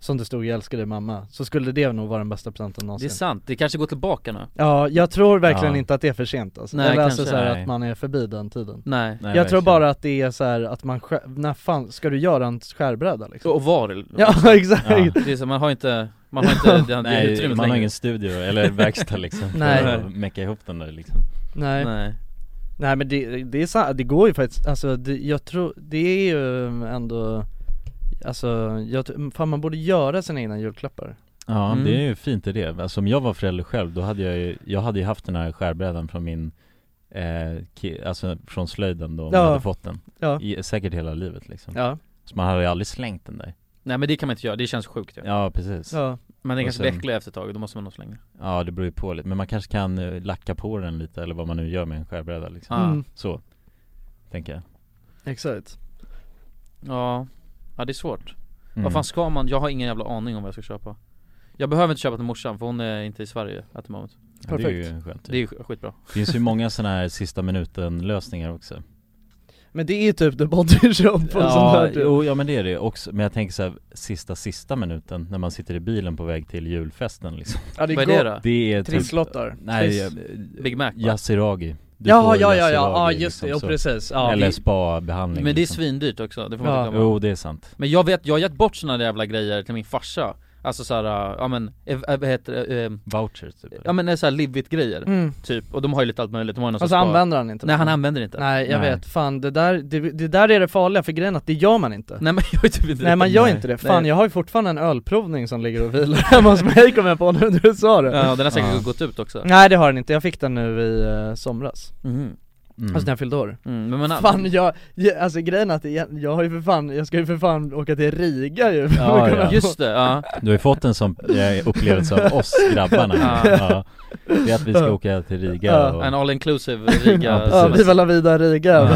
[SPEAKER 5] Som det stod 'Jag älskar dig mamma' så skulle det nog vara den bästa presenten
[SPEAKER 3] Det
[SPEAKER 5] någonsin
[SPEAKER 3] är sant, det kanske går tillbaka nu
[SPEAKER 5] Ja, jag tror verkligen
[SPEAKER 2] Ja.
[SPEAKER 5] inte att det är för sent alltså.
[SPEAKER 3] Nej,
[SPEAKER 5] Eller alltså
[SPEAKER 3] kanske
[SPEAKER 5] så här
[SPEAKER 2] nej.
[SPEAKER 5] att man är förbi den tiden
[SPEAKER 3] Nej
[SPEAKER 2] Nej,
[SPEAKER 5] Jag tror
[SPEAKER 2] verkligen.
[SPEAKER 5] bara att det är så här att man själv, när fan ska du göra en skärbräda liksom?
[SPEAKER 3] Och var
[SPEAKER 5] Ja (laughs) exakt!
[SPEAKER 2] Ja.
[SPEAKER 3] (laughs) Det är så, man har inte, man har
[SPEAKER 2] (laughs)
[SPEAKER 3] inte det, det
[SPEAKER 2] Nej,
[SPEAKER 3] utrymmet
[SPEAKER 2] man har
[SPEAKER 3] längre.
[SPEAKER 2] ingen studio eller verkstad
[SPEAKER 3] (laughs)
[SPEAKER 2] liksom
[SPEAKER 5] Nej.
[SPEAKER 2] för att mecka ihop den där liksom
[SPEAKER 5] Nej.
[SPEAKER 3] Nej.
[SPEAKER 5] Nej men det, det är sant, det går ju faktiskt, alltså det, jag tror, det är ju ändå Alltså, jag, tr- fan man borde göra sina egna julklappar
[SPEAKER 2] Ja,
[SPEAKER 3] Mm.
[SPEAKER 2] det är ju fint i det. Alltså, om jag var förälder själv, då hade jag ju, jag hade ju haft den här skärbrädan från min eh, ki- Alltså från slöjden då, om jag
[SPEAKER 5] Ja.
[SPEAKER 2] hade fått den
[SPEAKER 5] Ja.
[SPEAKER 2] I, Säkert hela livet liksom
[SPEAKER 5] Ja,
[SPEAKER 2] Så man hade ju aldrig slängt den där
[SPEAKER 3] Nej men det kan man inte göra, det känns sjukt ju.
[SPEAKER 2] Ja, precis Ja,
[SPEAKER 5] ja,
[SPEAKER 3] Men det
[SPEAKER 2] Och
[SPEAKER 3] kanske blir
[SPEAKER 2] sen-
[SPEAKER 3] äcklig efter ett tag, då måste man nog slänga
[SPEAKER 2] det beror ju på lite, men man kanske kan eh, lacka på den lite eller vad man nu gör med en skärbräda liksom
[SPEAKER 3] Ah.
[SPEAKER 5] Mm,
[SPEAKER 2] Så, tänker jag
[SPEAKER 5] exakt
[SPEAKER 3] Ja, ja det är svårt.
[SPEAKER 2] Mm.
[SPEAKER 3] Vad fan ska man, jag har ingen jävla aning om vad jag ska köpa Jag behöver inte köpa till morsan för hon är inte i Sverige at the moment
[SPEAKER 2] Mm. ja, Det är ju
[SPEAKER 5] perfekt.
[SPEAKER 2] skönt
[SPEAKER 3] Det är
[SPEAKER 2] det
[SPEAKER 3] ju sk- skitbra
[SPEAKER 2] finns ju många sådana här sista minuten lösningar också
[SPEAKER 5] Men det är ju typ the body shop och sånt
[SPEAKER 2] Ja,
[SPEAKER 5] där typ.
[SPEAKER 2] jo, ja men det är det också, men jag tänker så här, sista sista minuten när man sitter i bilen på väg till julfesten liksom
[SPEAKER 5] ja,
[SPEAKER 3] Vad är det
[SPEAKER 5] gott.
[SPEAKER 3] då?
[SPEAKER 2] Det är typ,
[SPEAKER 5] Trisslottar
[SPEAKER 2] nej,
[SPEAKER 5] Triss.
[SPEAKER 2] jag-
[SPEAKER 3] Big Mac va?
[SPEAKER 2] Yasuragi Du
[SPEAKER 5] Jaha,
[SPEAKER 2] får
[SPEAKER 5] ja, ja, ja, ja
[SPEAKER 2] yasuragi,
[SPEAKER 5] just det,
[SPEAKER 2] liksom,
[SPEAKER 5] ja
[SPEAKER 2] så.
[SPEAKER 5] precis ja,
[SPEAKER 2] Eller
[SPEAKER 5] vi-
[SPEAKER 2] spa-behandling
[SPEAKER 3] Men det är
[SPEAKER 2] liksom.
[SPEAKER 3] svindyrt också, det får man
[SPEAKER 5] Ja.
[SPEAKER 3] inte glömma
[SPEAKER 2] Jo det är sant
[SPEAKER 3] Men jag vet, jag har gett bort såna där jävla grejer till min farsa Alltså såhär, ja men, eh, eh, vad heter det, eh,
[SPEAKER 2] Vouchers typ
[SPEAKER 3] ja men såhär livvit grejer
[SPEAKER 5] mm.
[SPEAKER 3] Typ, och de har ju lite allt möjligt, de har ju någon
[SPEAKER 5] Och
[SPEAKER 2] Alltså
[SPEAKER 3] sorts
[SPEAKER 5] så
[SPEAKER 3] bar-
[SPEAKER 5] använder han inte
[SPEAKER 3] Nej
[SPEAKER 5] det.
[SPEAKER 3] han använder inte
[SPEAKER 5] Mm. Nej jag
[SPEAKER 2] Nej.
[SPEAKER 5] vet, fan det där, det, det där är det farliga för grejen är att det gör man inte
[SPEAKER 3] Nej men jag är typ inte
[SPEAKER 5] Nej man gör inte det, fan jag har ju fortfarande en ölprovning som ligger och vilar (laughs) hemma hos mig kom jag på nu när du sa det
[SPEAKER 3] Ja den har säkert
[SPEAKER 2] Ja.
[SPEAKER 3] gått ut också
[SPEAKER 5] Nej det har den inte, jag fick den nu i eh, somras,
[SPEAKER 3] mm.
[SPEAKER 2] mm.
[SPEAKER 5] alltså när jag fyllde år
[SPEAKER 3] Mm. Men man,
[SPEAKER 5] Fan jag, jag, alltså grejen är att jag, jag har ju för fan, jag ska ju för fan åka till Riga (laughs) ju för
[SPEAKER 2] Ja,
[SPEAKER 5] att komma
[SPEAKER 2] ja.
[SPEAKER 3] Just det, ja
[SPEAKER 2] Du har ju fått en sån eh, upplevelse av oss grabbarna
[SPEAKER 3] Ja.
[SPEAKER 2] ja. Det är att vi ska åka till Riga
[SPEAKER 5] Ja.
[SPEAKER 2] och...
[SPEAKER 3] En all
[SPEAKER 5] (laughs)
[SPEAKER 3] inclusive Riga
[SPEAKER 2] Ja, precis.
[SPEAKER 5] Ja, Viva la vida Riga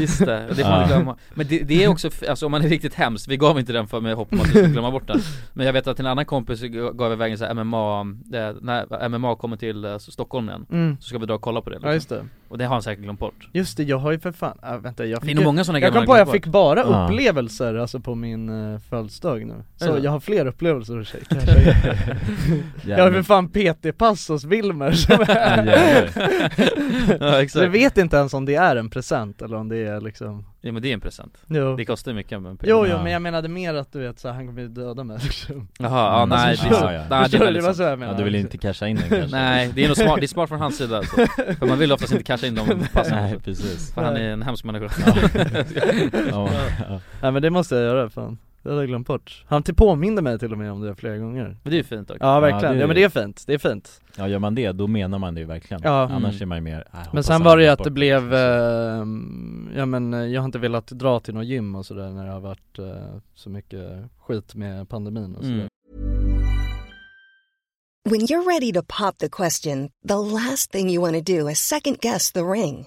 [SPEAKER 3] Just det, det får man
[SPEAKER 2] Ja.
[SPEAKER 3] glömma Men det, det är också, f- alltså om man är riktigt hemsk, vi gav inte den för med hopp om att vi skulle glömma bort den Men jag vet att till en annan kompis gav jag iväg en sån här MMA, eh, när MMA kommer till eh, Stockholm igen
[SPEAKER 5] mm.
[SPEAKER 3] Så ska vi dra och kolla på det
[SPEAKER 5] Ja
[SPEAKER 3] liksom.
[SPEAKER 5] just det,
[SPEAKER 3] Och det har han säkert glömt bort
[SPEAKER 5] just det jag har ju för fan, ah, vänta jag
[SPEAKER 3] Det är
[SPEAKER 5] fick
[SPEAKER 3] nog
[SPEAKER 5] ju-
[SPEAKER 3] många sådana
[SPEAKER 5] jag
[SPEAKER 3] grejer
[SPEAKER 5] kom
[SPEAKER 3] man
[SPEAKER 5] på,
[SPEAKER 3] har
[SPEAKER 5] jag
[SPEAKER 3] glömt
[SPEAKER 5] fick bara
[SPEAKER 2] Ja.
[SPEAKER 5] upplevelser alltså på min uh, födelsedag nu
[SPEAKER 3] Är
[SPEAKER 5] Så
[SPEAKER 3] det?
[SPEAKER 5] jag har fler upplevelser att checka
[SPEAKER 3] (laughs)
[SPEAKER 5] (laughs) Jag har för fan PT-pass hos Wilmer som
[SPEAKER 2] Ja,
[SPEAKER 5] är
[SPEAKER 2] jävlar.
[SPEAKER 3] bort. Ja
[SPEAKER 5] Så jag
[SPEAKER 3] exakt
[SPEAKER 5] vet inte ens om det är en present eller om det är liksom
[SPEAKER 3] Ja men det är en present,
[SPEAKER 5] Jo,
[SPEAKER 3] det kostar ju mycket men
[SPEAKER 5] jo, jo
[SPEAKER 2] Ja.
[SPEAKER 5] men jag menade mer att du vet så här, han kommer ju döda mig liksom
[SPEAKER 3] Jaha, ja,
[SPEAKER 2] Mm.
[SPEAKER 3] nej,
[SPEAKER 2] Alltså,
[SPEAKER 3] det,
[SPEAKER 2] förstår-
[SPEAKER 3] är sant. nej det liksom-
[SPEAKER 5] Förstår
[SPEAKER 3] är
[SPEAKER 5] du? Det
[SPEAKER 3] väldigt
[SPEAKER 5] var
[SPEAKER 3] sant
[SPEAKER 5] så jag menade
[SPEAKER 2] Ja du vill inte casha in den kanske?
[SPEAKER 3] Nej, det är nog smart, det är smart från hans sida
[SPEAKER 5] (laughs)
[SPEAKER 3] alltså. För man vill oftast inte casha in de passen
[SPEAKER 2] Nej precis
[SPEAKER 3] För han är en hemsk människa
[SPEAKER 2] ja. Ja.
[SPEAKER 5] Nej men det måste jag göra fan, det hade jag glömt bort Han till påminde mig till och med om det flera gånger
[SPEAKER 3] Men det är ju fint också
[SPEAKER 5] Ja verkligen,
[SPEAKER 2] det är-
[SPEAKER 5] ja men det är fint, det är fint
[SPEAKER 2] ja gör man det, då menar man det ju verkligen
[SPEAKER 5] Ja.
[SPEAKER 2] Annars
[SPEAKER 3] Mm.
[SPEAKER 2] är man ju mer, "Ah,
[SPEAKER 5] Men
[SPEAKER 2] hoppas
[SPEAKER 5] sen
[SPEAKER 2] han
[SPEAKER 5] var det ju
[SPEAKER 2] glömt
[SPEAKER 5] att
[SPEAKER 2] bort
[SPEAKER 5] det blev,
[SPEAKER 2] liksom."
[SPEAKER 5] eh, ja men eh, jag har inte velat dra till något gym och sådär när det har varit eh, så mycket skit med pandemin och sådär
[SPEAKER 3] Mm.
[SPEAKER 8] When you're ready to pop the question, the last thing you want to do is second guess the ring.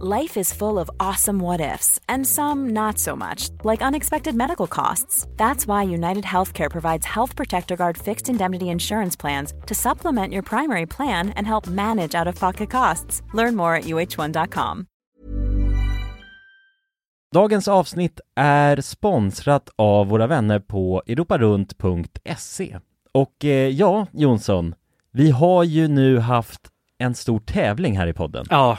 [SPEAKER 1] Life is full of awesome what ifs, and some not so much, like unexpected medical costs. That's why United Healthcare provides Health Protector Guard fixed indemnity insurance plans to supplement your primary plan and help manage out of pocket costs. Learn more at uh1.com.
[SPEAKER 2] Dagens avsnitt är sponsrat av våra vänner på europarunt.se. Och eh, ja, Jonsson, vi har ju nu haft en stor tävling här i podden.
[SPEAKER 4] Ja,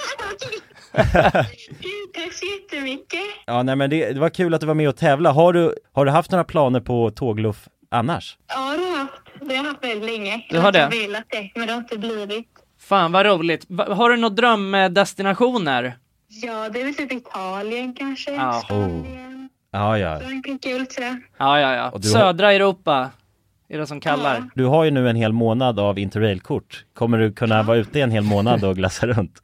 [SPEAKER 9] (laughs) Tack så jättemycket.
[SPEAKER 2] Ja, nej men det, det var kul att du var med och tävla. Har du, har du haft några planer på tågluff annars?
[SPEAKER 9] Ja, det har jag haft. Det har jag haft väldigt länge.
[SPEAKER 4] Du har det?
[SPEAKER 9] velat det, men det har inte blivit.
[SPEAKER 4] Fan vad roligt. Va- har du några drömdestinationer?
[SPEAKER 9] Ja, det är väl typ Italien kanske.
[SPEAKER 4] Ja.
[SPEAKER 9] Oh. Spanien.
[SPEAKER 2] Ja, ja.
[SPEAKER 9] Frankrike är väl sådär.
[SPEAKER 4] Ja, ja, ja.
[SPEAKER 2] Och du har-
[SPEAKER 4] Södra Europa är det som kallar.
[SPEAKER 2] Du har ju nu en hel månad av interrailkort. Kommer du kunna vara ute en hel månad och glassa
[SPEAKER 4] (laughs)
[SPEAKER 2] runt?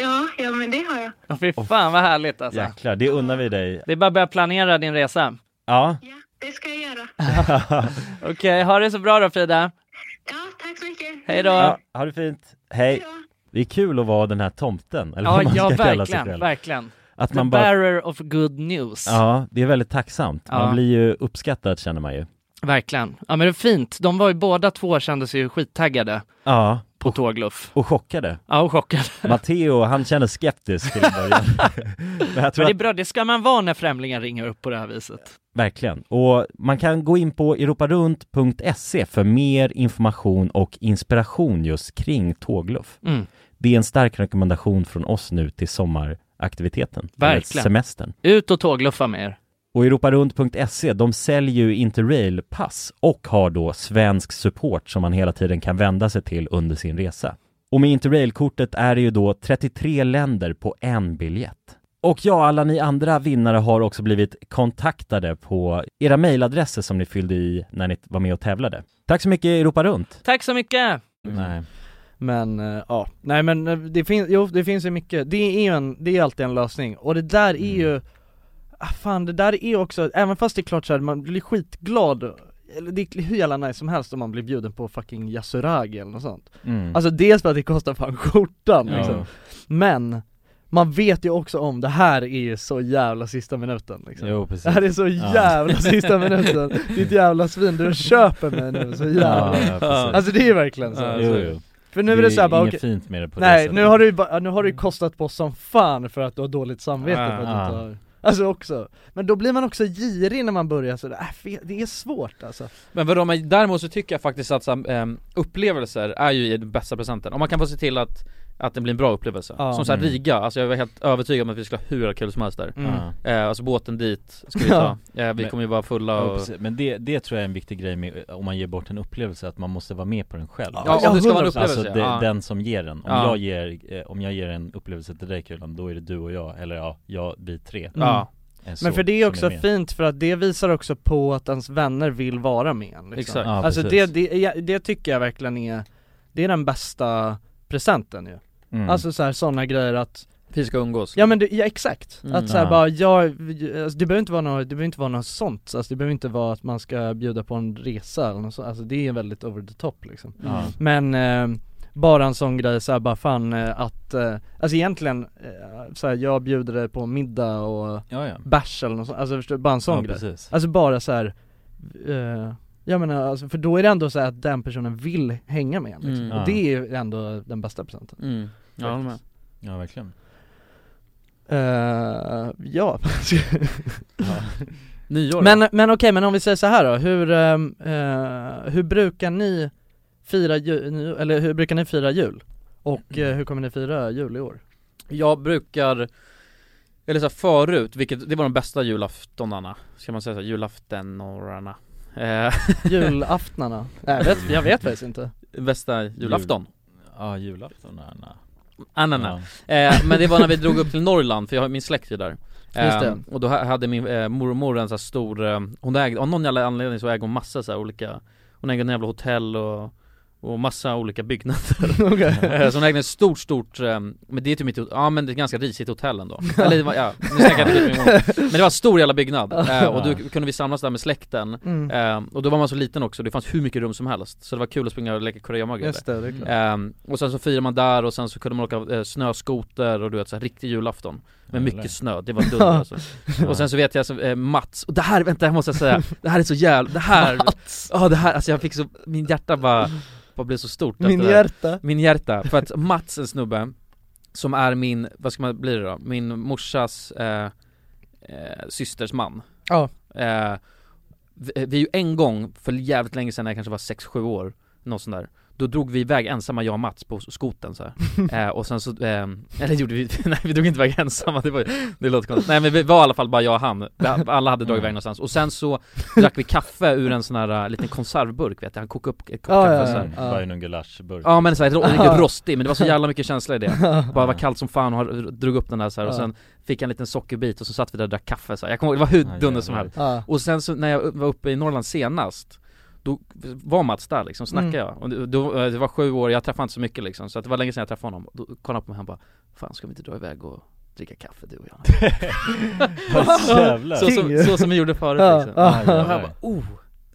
[SPEAKER 9] Ja, ja, men det har jag.
[SPEAKER 4] Ja. Fy fan vad härligt alltså.
[SPEAKER 2] Jäklar, det unnar vi dig.
[SPEAKER 4] Det är bara att börja planera din resa.
[SPEAKER 2] Ja,
[SPEAKER 9] Ja, det ska jag göra.
[SPEAKER 4] Okej, ha det så bra då Frida.
[SPEAKER 9] Ja, tack så mycket.
[SPEAKER 4] Hej då.
[SPEAKER 2] ja ha det fint. Hej. Det är kul att vara den här tomten, eller
[SPEAKER 4] Ja,
[SPEAKER 2] vad man
[SPEAKER 4] ja
[SPEAKER 2] ska kalla sig
[SPEAKER 4] verkligen,
[SPEAKER 2] själv.
[SPEAKER 4] verkligen.
[SPEAKER 2] Att
[SPEAKER 4] The
[SPEAKER 2] man bara...
[SPEAKER 4] bearer of good news.
[SPEAKER 2] Ja, det är väldigt tacksamt. Man
[SPEAKER 4] Ja.
[SPEAKER 2] blir ju uppskattad känner man ju.
[SPEAKER 4] Verkligen. Ja men det är fint. De var ju båda två kände sig ju skittaggade
[SPEAKER 2] Ja,
[SPEAKER 4] på tågluff.
[SPEAKER 2] och chockade.
[SPEAKER 4] Ja och chockade.
[SPEAKER 2] Matteo, han känner skeptisk till en
[SPEAKER 4] (laughs)
[SPEAKER 2] början. Men jag
[SPEAKER 4] Men
[SPEAKER 2] tror
[SPEAKER 4] det är
[SPEAKER 2] att,
[SPEAKER 4] bra, det ska man vara när främlingar ringer upp på det här viset.
[SPEAKER 2] verkligen. Och man kan gå in på europarunt.se E för mer information och inspiration just kring tågluff.
[SPEAKER 4] Mm.
[SPEAKER 2] Det är en stark rekommendation från oss nu till sommaraktiviteten. eller
[SPEAKER 4] Verkligen.
[SPEAKER 2] Semestern.
[SPEAKER 4] Ut och tågluffa med er.
[SPEAKER 2] Och europarunt.se, E, de säljer ju Interrail-pass och har då svensk support som man hela tiden kan vända sig till under sin resa. Och med Interrail-kortet är det ju då 33 länder på en biljett. Och ja, alla ni andra vinnare har också blivit kontaktade på era mejladresser som ni fyllde i när ni var med och tävlade. Tack så mycket Europa Runt!
[SPEAKER 4] Tack så mycket!
[SPEAKER 2] Nej.
[SPEAKER 5] Men eh, ja, nej men
[SPEAKER 4] Mm.
[SPEAKER 5] eh, det finns, jo det finns ju mycket, det är ju en, det är alltid en lösning och det där är ju ah, fan det där är också, även fast det är klart såhär, man blir skitglad eller det är hur jävla nice som helst om man blir bjuden på fucking yasuragi eller något sånt
[SPEAKER 2] Mm.
[SPEAKER 5] Alltså dels för att det kostar fan skjortan
[SPEAKER 2] Ja.
[SPEAKER 5] liksom. Men man vet ju också om det här är ju så jävla sista minuten liksom.
[SPEAKER 2] Jo, precis.
[SPEAKER 5] Det här är så
[SPEAKER 2] Ja.
[SPEAKER 5] jävla sista minuten, ditt jävla svin, du köper mig nu
[SPEAKER 3] (laughs)
[SPEAKER 5] så jävla
[SPEAKER 2] Ja, alltså, ja, precis.
[SPEAKER 5] Alltså det är ju verkligen så
[SPEAKER 2] Jo, jo.
[SPEAKER 5] För nu är det såhär bara
[SPEAKER 2] inget
[SPEAKER 5] okej
[SPEAKER 2] fint med det på det
[SPEAKER 5] Nej,
[SPEAKER 2] sättet. Mm.
[SPEAKER 5] nu har, du ju bara, nu har du ju kostat på som fan för att du har dåligt samvete för att du
[SPEAKER 2] Ah.
[SPEAKER 5] inte har Alltså också, men då blir man också girig när man börjar så där, äh, fe- det är svårt alltså
[SPEAKER 3] Men vadå, men däremot så tycker jag faktiskt att så, här, ehm, upplevelser är ju den bästa presenten. Om man kan få se till att, att det blir en bra upplevelse.
[SPEAKER 5] Ja.
[SPEAKER 3] Som såhär
[SPEAKER 2] Mm.
[SPEAKER 3] Riga, alltså jag var helt övertygad om att vi skulle ha hur kul som helst där.
[SPEAKER 5] Mm.
[SPEAKER 2] Ja.
[SPEAKER 3] Eh, alltså båten dit ska vi ta. Eh, vi
[SPEAKER 2] Men-
[SPEAKER 3] kommer ju vara fulla
[SPEAKER 2] Ja,
[SPEAKER 3] och...
[SPEAKER 2] precis. Men det, det tror jag är en viktig grej med, om man ger bort en upplevelse, att man måste vara med på den själv
[SPEAKER 3] Ja, om det ska vara en upplevelse.
[SPEAKER 2] Alltså det,
[SPEAKER 3] ja.
[SPEAKER 2] den som ger den. Om,
[SPEAKER 3] Ja.
[SPEAKER 2] jag ger, eh, om jag ger en upplevelse till dig Kulan, då är det du och jag, eller ja, jag, vi tre
[SPEAKER 3] ja.
[SPEAKER 2] Eh, så,
[SPEAKER 5] Mm. Men för det är
[SPEAKER 2] som
[SPEAKER 5] också
[SPEAKER 2] med.
[SPEAKER 5] fint för att det visar också på att ens vänner vill vara med en, liksom.
[SPEAKER 3] Exakt.
[SPEAKER 2] Ja,
[SPEAKER 5] Alltså det,
[SPEAKER 2] precis.
[SPEAKER 5] det, ja, det tycker jag verkligen är, det är den bästa presenten ju
[SPEAKER 2] Mm.
[SPEAKER 5] Alltså så här, sådana grejer att,
[SPEAKER 3] Vi ska umgås.
[SPEAKER 5] ja men det, ja, exakt,
[SPEAKER 3] Mm.
[SPEAKER 5] att så här,
[SPEAKER 2] Ja.
[SPEAKER 5] bara jag, vi- alltså, det behöver inte vara något, det behöver inte vara något sånt, alltså, det behöver inte vara att man ska bjuda på en resa eller något sånt, alltså det är väldigt over the top liksom
[SPEAKER 2] ja.
[SPEAKER 5] Men eh, bara en sån grej såhär bara fan eh, att, eh, alltså egentligen, eh, såhär jag bjuder dig på middag och
[SPEAKER 2] ja, ja.
[SPEAKER 5] bärs eller något sånt, alltså förstår, du? bara en sån
[SPEAKER 2] ja,
[SPEAKER 5] grej
[SPEAKER 2] precis.
[SPEAKER 5] Alltså bara så här. Eh, jag menar alltså, för då är det ändå så här att den personen vill hänga med en, liksom.
[SPEAKER 3] Mm.
[SPEAKER 5] Och det är ju ändå den bästa presenten
[SPEAKER 3] Mm. Jag håller med.
[SPEAKER 2] Ja, verkligen.
[SPEAKER 3] (laughs)
[SPEAKER 5] Eh, Ja,
[SPEAKER 3] Nyår
[SPEAKER 5] men, men okej men om vi säger så här då, hur, ehm, eh, hur brukar ni fira jul, eller hur brukar ni fira jul? Och eh, hur kommer ni fira jul i år?
[SPEAKER 3] Jag brukar Eller så här, förut, vilket det var de bästa julaftonarna Ska man säga så här, julaftenorarna eh, (laughs)
[SPEAKER 5] Julaftnarna? Nej jag vet, jag vet faktiskt inte
[SPEAKER 3] Bästa julafton
[SPEAKER 2] Ja, julafton är na.
[SPEAKER 3] Anana. Eh, Men det var när vi drog upp till Norrland, för jag har min släkt är där eh,
[SPEAKER 5] Just det.
[SPEAKER 3] Och då ha- hade min eh, mormor en så här stor eh, Hon ägde, av någon jävla anledning så ägde hon massa så här olika Hon ägde en jävla hotell och och massa olika byggnader (laughs) Eh, Så hon ägde ett stort, stort, eh, men det är typ inte, ja men det är ett ganska risigt hotell
[SPEAKER 5] (laughs)
[SPEAKER 3] ändå Eller det var, ja, nu snackar jag inte skit om min mormor. Men det var en stor jävla byggnad, eh, och då kunde vi samlas där med släkten
[SPEAKER 5] mm.
[SPEAKER 3] Eh, och då var man så liten också, det fanns hur mycket rum som helst Så det var kul att springa och leka kurragömma
[SPEAKER 5] Just det, det är klart
[SPEAKER 3] eh, Och sen så firade man där och sen så kunde man åka eh, snöskoter och du vet såhär riktig julafton Med mycket snö, det var
[SPEAKER 5] (laughs)
[SPEAKER 3] dunder alltså. Och sen så vet jag, så, eh, Mats, och det här, vänta jag måste säga, det här är så jävla, det
[SPEAKER 5] (laughs)
[SPEAKER 3] här, ja det här, alltså jag fick så, min hjärta bara, bara blev så stort efter
[SPEAKER 5] Min
[SPEAKER 3] det här.
[SPEAKER 5] hjärta
[SPEAKER 3] Min hjärta, för att Mats, en snubbe Som är min, vad ska man bli det då? Min morsas eh, eh, systers man
[SPEAKER 5] Ja.
[SPEAKER 3] eh, vi, vi är ju en gång, för jävligt länge sedan när jag kanske var 6-7 år Något sånt där Då drog vi iväg ensamma jag och Mats på skoten
[SPEAKER 5] (laughs)
[SPEAKER 3] så här. Eh, och sen så, eh, (laughs) eller gjorde vi, nej vi drog inte iväg ensamma, det var ju- det låter konstigt Nej men vi var i alla fall bara jag och han, alla hade
[SPEAKER 5] Mm.
[SPEAKER 3] dragit iväg någonstans Och sen så drack vi kaffe ur en sån här eh, liten konservburk vet jag, han kokade upp ett kopp
[SPEAKER 5] Ja,
[SPEAKER 3] kaffe
[SPEAKER 5] ja,
[SPEAKER 3] så
[SPEAKER 5] ja.
[SPEAKER 3] här.
[SPEAKER 2] Mm. Bara i någon gulaschburk.
[SPEAKER 3] eh, Ja men
[SPEAKER 5] (laughs)
[SPEAKER 3] såhär,
[SPEAKER 5] Ah.
[SPEAKER 3] riktigt rostig, men det var så jävla mycket känsla
[SPEAKER 2] (laughs)
[SPEAKER 3] i det Bara var kallt som fan och har- drog upp den där så här, och
[SPEAKER 5] Ja.
[SPEAKER 3] sen fick jag en liten sockerbit och så satt vi där och drack kaffe så här. Jag kommer ihåg, det var hur
[SPEAKER 2] Ja,
[SPEAKER 3] dunder som
[SPEAKER 2] jävlar.
[SPEAKER 3] helst
[SPEAKER 5] (laughs) Ja.
[SPEAKER 3] Och sen så när jag var uppe i Norrland senast Då var Mats där liksom,
[SPEAKER 5] Mm.
[SPEAKER 3] snackade jag och det- då, eh, Det var sju år, jag träffade inte så mycket liksom Så att det var länge sedan jag träffade honom Då kollade han på mig han bara Fan ska vi inte dra iväg och dricka kaffe du och jag?
[SPEAKER 2] (laughs) Vad jävlar.
[SPEAKER 3] Så, som, så som vi gjorde förut
[SPEAKER 5] Ja,
[SPEAKER 3] liksom
[SPEAKER 5] ja.
[SPEAKER 2] Aj,
[SPEAKER 3] Och jag
[SPEAKER 2] jävlar.
[SPEAKER 3] bara, oh!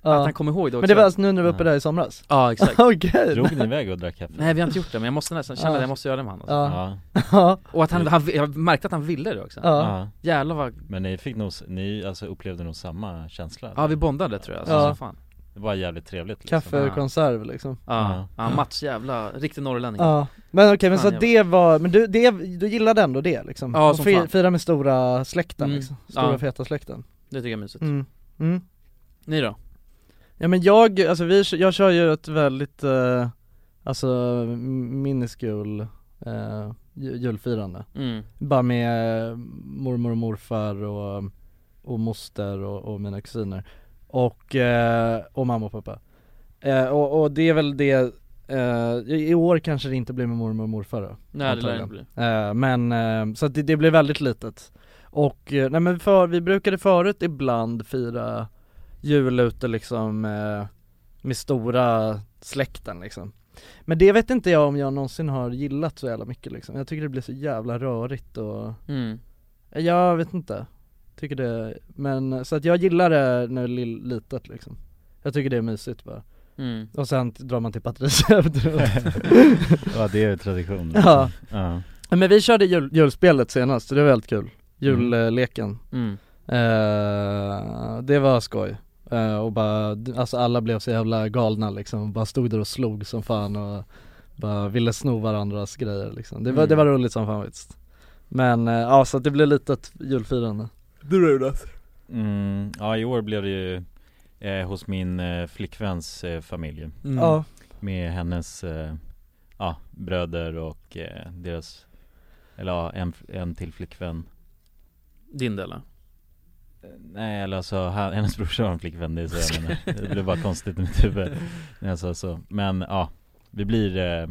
[SPEAKER 3] Att
[SPEAKER 5] Ja.
[SPEAKER 3] han kom ihåg det också
[SPEAKER 5] Men det var alltså nu när du var uppe där i somras?
[SPEAKER 3] Ja exakt
[SPEAKER 5] (laughs) Okej!
[SPEAKER 2] Drog ni iväg och drack kaffe?
[SPEAKER 3] Nej vi har inte gjort det men jag måste nästan känna
[SPEAKER 5] Ja.
[SPEAKER 3] att jag måste göra det med honom alltså.
[SPEAKER 5] Ja.
[SPEAKER 2] Ja,
[SPEAKER 5] Ja.
[SPEAKER 3] Och att han, han, jag märkte att han ville det också
[SPEAKER 5] Ja.
[SPEAKER 2] ja.
[SPEAKER 3] Jävlar vad,
[SPEAKER 2] Men ni fick nog, s- ni alltså upplevde nog samma känsla? eller?
[SPEAKER 3] ja vi bondade tror jag, alltså,
[SPEAKER 5] Ja.
[SPEAKER 3] som fan
[SPEAKER 2] Det var jävligt trevligt liksom.
[SPEAKER 5] Kaffe och konserv liksom
[SPEAKER 3] Ja,
[SPEAKER 2] Ja.
[SPEAKER 3] ja Mats jävla, riktig norrlänning
[SPEAKER 5] Ja, men okej men så
[SPEAKER 3] Fan,
[SPEAKER 5] att
[SPEAKER 3] jag-
[SPEAKER 5] det var, men du, det, du gillade ändå det liksom?
[SPEAKER 3] Ja,
[SPEAKER 5] Och
[SPEAKER 3] som
[SPEAKER 5] fi-
[SPEAKER 3] fan.
[SPEAKER 5] Fira med stora släkten
[SPEAKER 3] Mm,
[SPEAKER 5] liksom, stora
[SPEAKER 3] ja.
[SPEAKER 5] feta släkten
[SPEAKER 3] Det tycker jag är mysigt
[SPEAKER 5] mm. Mm.
[SPEAKER 3] Ni då?
[SPEAKER 5] Ja men jag, alltså vi, jag kör ju ett väldigt, eh, alltså miniskul eh, ju- julfirande
[SPEAKER 3] Mm,
[SPEAKER 5] Bara med eh, mormor och morfar och, och moster och, och mina kusiner Och, eh, och mamma och pappa eh, och, och det är väl det, eh, i i år kanske det inte blir med mormor och morfar då
[SPEAKER 3] nej det lär det
[SPEAKER 5] Antagligen.
[SPEAKER 3] inte bli
[SPEAKER 5] Eh, men, eh, så att det, det blev väldigt litet Och, eh, nej men för, vi brukade förut ibland fira jul ute liksom eh, med stora släkten liksom Men det vet inte jag om jag någonsin har gillat så jävla mycket liksom Jag tycker det blir så jävla rörigt och,
[SPEAKER 3] mm.
[SPEAKER 5] jag vet inte Tycker det, men så att jag gillar det när det är lill- litet liksom Jag tycker det är mysigt bara
[SPEAKER 3] Mm.
[SPEAKER 5] Och sen t- drar man till Patricia (laughs) efteråt
[SPEAKER 2] (laughs) Ja det är ju tradition
[SPEAKER 5] Ja.
[SPEAKER 2] ja.
[SPEAKER 5] Men vi körde jul, julspelet senast, så det var väldigt kul Julleken
[SPEAKER 3] Mm.
[SPEAKER 5] Eh, Det var skoj Eh, och bara, d- alltså alla blev så jävla galna liksom, bara stod där och slog som fan och bara ville sno varandras grejer liksom. Det var,
[SPEAKER 3] Mm.
[SPEAKER 5] det var roligt som fan faktiskt Men eh, ja, så att det blev litet julfirande Du Jonas?
[SPEAKER 2] Mm, ja i år blev det ju eh, hos min eh, flickväns eh, familj
[SPEAKER 3] Mm.
[SPEAKER 5] Ja,
[SPEAKER 2] Med hennes eh, ja, bröder och eh, deras Eller ja, en, en till flickvän
[SPEAKER 3] Din del
[SPEAKER 2] Eh, Nej eller alltså han, hennes brorsa har en flickvän, det är så jag menar Det blev bara konstigt i mitt huvud när jag sa så Men ja, vi blir eh,